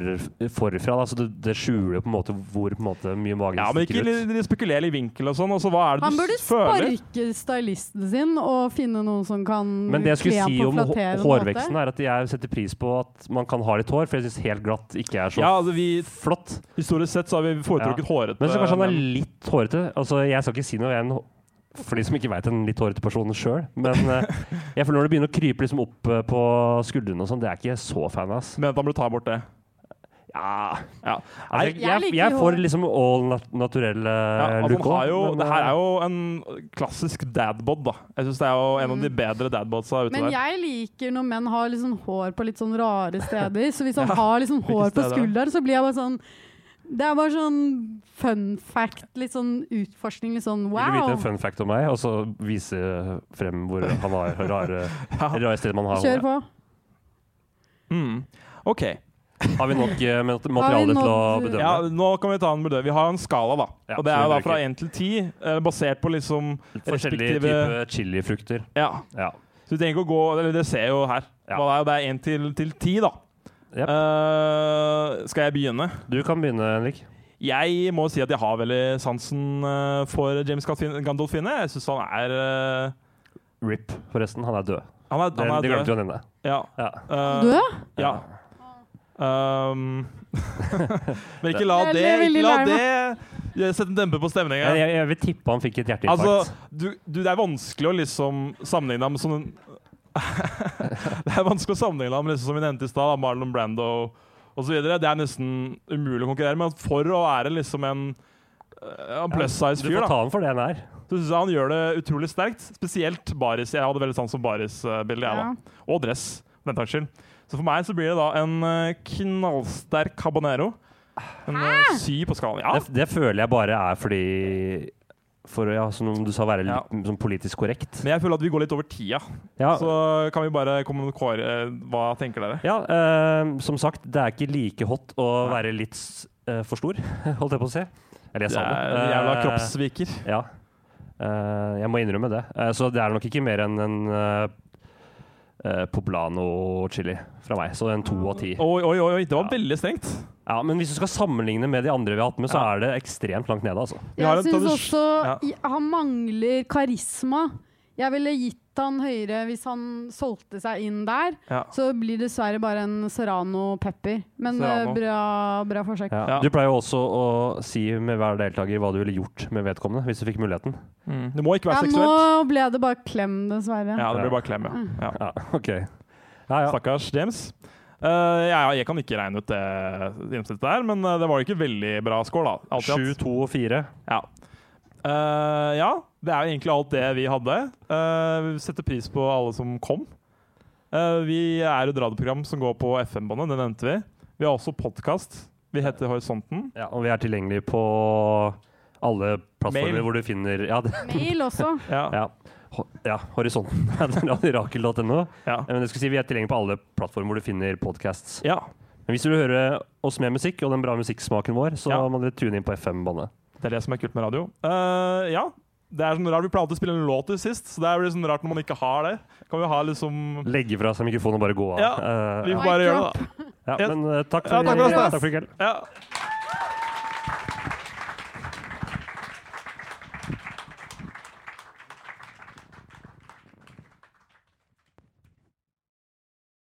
Speaker 4: forfra, da, så det, det skjuler jo på en måte hvor på en måte, mye magen
Speaker 5: Ja, men ikke
Speaker 4: stikker ut.
Speaker 5: li- spekulere i vinkel og sånn. Altså, hva er det
Speaker 6: Han
Speaker 5: du
Speaker 6: burde
Speaker 5: s- føler?
Speaker 6: sparke stylisten sin og finne noen som kan
Speaker 4: Men det jeg skulle
Speaker 6: kle han
Speaker 4: si
Speaker 6: på
Speaker 4: om hå-
Speaker 6: flatterende
Speaker 4: hårveksten,
Speaker 6: måte.
Speaker 4: er at jeg setter pris på at man kan ha litt hår, for jeg syns helt glatt ikke er så
Speaker 5: Ja, altså, vi,
Speaker 4: flott.
Speaker 5: historisk sett så har vi foretrukket hårete
Speaker 4: Men så kanskje han er
Speaker 5: menn.
Speaker 4: litt hårete. Altså, jeg skal ikke si noe, jeg er en, hå- for de som ikke veit en litt hårete person sjøl. Men eh,
Speaker 5: <laughs>
Speaker 4: jeg føler når det begynner å krype liksom opp eh, på skuldrene og sånn, det er ikke jeg så fan av. ass.
Speaker 5: Men at han burde ta bort det.
Speaker 4: Ja.
Speaker 5: Ja.
Speaker 4: Altså, jeg,
Speaker 6: Jeg
Speaker 4: jeg,
Speaker 6: liker
Speaker 4: jeg
Speaker 6: hår.
Speaker 4: får liksom all nat naturell
Speaker 5: Ja,
Speaker 4: eh,
Speaker 5: altså,
Speaker 4: look
Speaker 5: han har jo,
Speaker 4: også, men,
Speaker 5: det her
Speaker 4: eh,
Speaker 5: er jo en klassisk dadbod, da. Jeg syns det er jo en av de bedre dadbodsa ute
Speaker 6: Mm. Men
Speaker 5: der.
Speaker 6: jeg liker når menn har liksom hår på litt sånn rare steder.
Speaker 5: <laughs>
Speaker 6: Så hvis han har liksom hår på
Speaker 5: steder?
Speaker 6: skulderen, så blir jeg bare sånn Det er bare sånn fun fact, litt sånn utforskning, litt sånn
Speaker 4: eh, Vil du vite
Speaker 6: wow.
Speaker 4: en fun fact om meg, og så vise frem hvor han har
Speaker 5: <laughs>
Speaker 4: rare, rare steder man har
Speaker 6: Kjør
Speaker 4: håret?
Speaker 6: på.
Speaker 5: Mm. OK.
Speaker 4: Har vi nok eh, mat- materiale til å
Speaker 6: nådd-
Speaker 4: bedømme?
Speaker 5: Ja, nå kan vi ta en bedøv. Vi har en skala, da.
Speaker 4: Ja,
Speaker 5: og det
Speaker 4: så
Speaker 5: er
Speaker 4: vi
Speaker 5: jo da
Speaker 4: bruker-
Speaker 5: fra én til ti, eh, basert på liksom
Speaker 4: Forskjellige
Speaker 5: respektive-
Speaker 4: typer chilifrukter.
Speaker 5: Ja.
Speaker 4: Ja.
Speaker 5: Så du trenger ikke å gå Eller det ser jeg jo her.
Speaker 4: Ja.
Speaker 5: Hva det er det er én til, til ti, da.
Speaker 4: Jep.
Speaker 5: Eh, skal jeg begynne?
Speaker 4: Du kan begynne, Henrik.
Speaker 5: Jeg må si at jeg har veldig sansen eh, for James Gandolfini. Gandolfini. Jeg syns han er eh,
Speaker 4: RIP, forresten. Han er død.
Speaker 5: Han er,
Speaker 4: Det,
Speaker 5: han
Speaker 4: det
Speaker 5: er
Speaker 4: glemte
Speaker 5: død.
Speaker 4: vi å nevne.
Speaker 5: Ja.
Speaker 4: Ja.
Speaker 5: Eh,
Speaker 6: Død?
Speaker 5: Ja.
Speaker 4: <laughs>
Speaker 5: Um, men ikke la
Speaker 6: Jeg
Speaker 5: det,
Speaker 6: ble veldig
Speaker 5: ikke la
Speaker 6: lei
Speaker 5: det sette en dempe på
Speaker 4: Jeg,
Speaker 5: stemninga.
Speaker 4: jeg, jeg vil tippe han fikk et hjerteinfarkt.
Speaker 5: Altså, du, du, det er vanskelig å liksom sammenligne ham som en <laughs> Det er vanskelig å sammenligne ham liksom som vi nevnte i stad, da, Marlon Brando osv. Det er nesten umulig å konkurrere med. For å være liksom en, eh, en plus size
Speaker 4: du
Speaker 5: fyr, da.
Speaker 4: får ta ham for det han er.
Speaker 5: Så syns jeg han gjør det utrolig sterkt. Spesielt baris. Jeg hadde veldig sans for baris-bildet, jeg, da
Speaker 6: Ja.
Speaker 5: og dress, for den saks skyld. Så for meg så blir det da en eh, knallsterk habanero. En eh, sy på skalaen. Ja,
Speaker 4: Det, det føler jeg bare er fordi for å, ja, som du sa, være litt
Speaker 5: Ja.
Speaker 4: sånn politisk korrekt.
Speaker 5: men jeg føler at vi går litt over tida.
Speaker 4: Ja,
Speaker 5: Så kan vi bare komme med kår, eh, Hva tenker dere?
Speaker 4: ja eh, som sagt, det er ikke like hot å være litt s- eh, for stor, <laughs> holdt jeg på å si. Eller jeg
Speaker 5: Det
Speaker 4: sa det.
Speaker 5: er en jævla
Speaker 4: Eh,
Speaker 5: kroppssviker.
Speaker 4: Ja. Eh, jeg må innrømme det. Eh, så det er nok ikke mer enn en eh, eh, poblano chili fra meg. Så en to av ti.
Speaker 5: Oi, oi, oi, oi, det var
Speaker 4: Ja.
Speaker 5: veldig strengt.
Speaker 4: Ja, men hvis du skal sammenligne med de andre vi har hatt med, så
Speaker 5: Ja.
Speaker 4: er det ekstremt langt nede, altså.
Speaker 5: Vi har
Speaker 6: Jeg
Speaker 5: en
Speaker 6: syns
Speaker 5: tradis-
Speaker 6: også
Speaker 5: Ja.
Speaker 6: i- han mangler karisma. Jeg ville gitt han høyere hvis han solgte seg inn der.
Speaker 5: Ja.
Speaker 6: Så blir det dessverre bare en Serrano Pepper. Men eh,
Speaker 5: Serrano.
Speaker 6: bra, bra forsøk.
Speaker 5: Ja.
Speaker 4: Du pleier jo også å si med hver deltaker hva du ville gjort med vedkommende hvis du fikk muligheten.
Speaker 5: Mm. Det må ikke
Speaker 6: Ja,
Speaker 5: være
Speaker 6: nå
Speaker 5: seksuelt.
Speaker 6: ble det bare klem, dessverre.
Speaker 5: Ja, det blir bare klem,
Speaker 6: Mm.
Speaker 5: ja. ja.
Speaker 4: Ja, <laughs> OK. Ja, ja.
Speaker 5: Stakkars James. Eh, ja, ja, jeg kan ikke regne ut det gjennomsnittet der, men eh, det var jo ikke veldig bra score, da. Alt i alt.
Speaker 4: Sju, to og fire.
Speaker 5: Ja. Eh, ja, det er jo egentlig alt det vi hadde. Eh, vi setter pris på alle som kom. Eh, vi er et radioprogram som går på FM-båndet, det nevnte vi. Vi har også podkast. Vi heter Horisonten.
Speaker 4: Ja, og vi er tilgjengelige på alle plattformer
Speaker 5: Mail.
Speaker 4: hvor du finner Ja, det,
Speaker 6: Mail også.
Speaker 5: <laughs> Ja,
Speaker 4: ja. Ho- ja horisonten. <laughs> Rakel.no.
Speaker 5: ja.
Speaker 4: Ja, Eh, Men jeg skulle si Vi er tilgjengelig på alle plattformer hvor du finner podcasts.
Speaker 5: ja
Speaker 4: Men hvis du vil høre oss med musikk og den bra musikksmaken vår, så
Speaker 5: Ja.
Speaker 4: må dere tune inn på FM-bandet.
Speaker 5: det er det som er kult med radio. Eh, ja, det er sånn rart Vi pleide alltid å spille en låt til sist, så det er jo sånn rart når man ikke har det. Kan vi ha liksom
Speaker 4: Legge fra seg mikrofonen og bare gå av.
Speaker 5: Ja,
Speaker 4: Eh,
Speaker 5: Vi
Speaker 4: ja.
Speaker 5: får bare gjøre det, da.
Speaker 4: ja, men eh, takk
Speaker 5: Ja,
Speaker 4: for,
Speaker 5: takk for oss, da.
Speaker 4: takk for i kveld.
Speaker 5: Ja.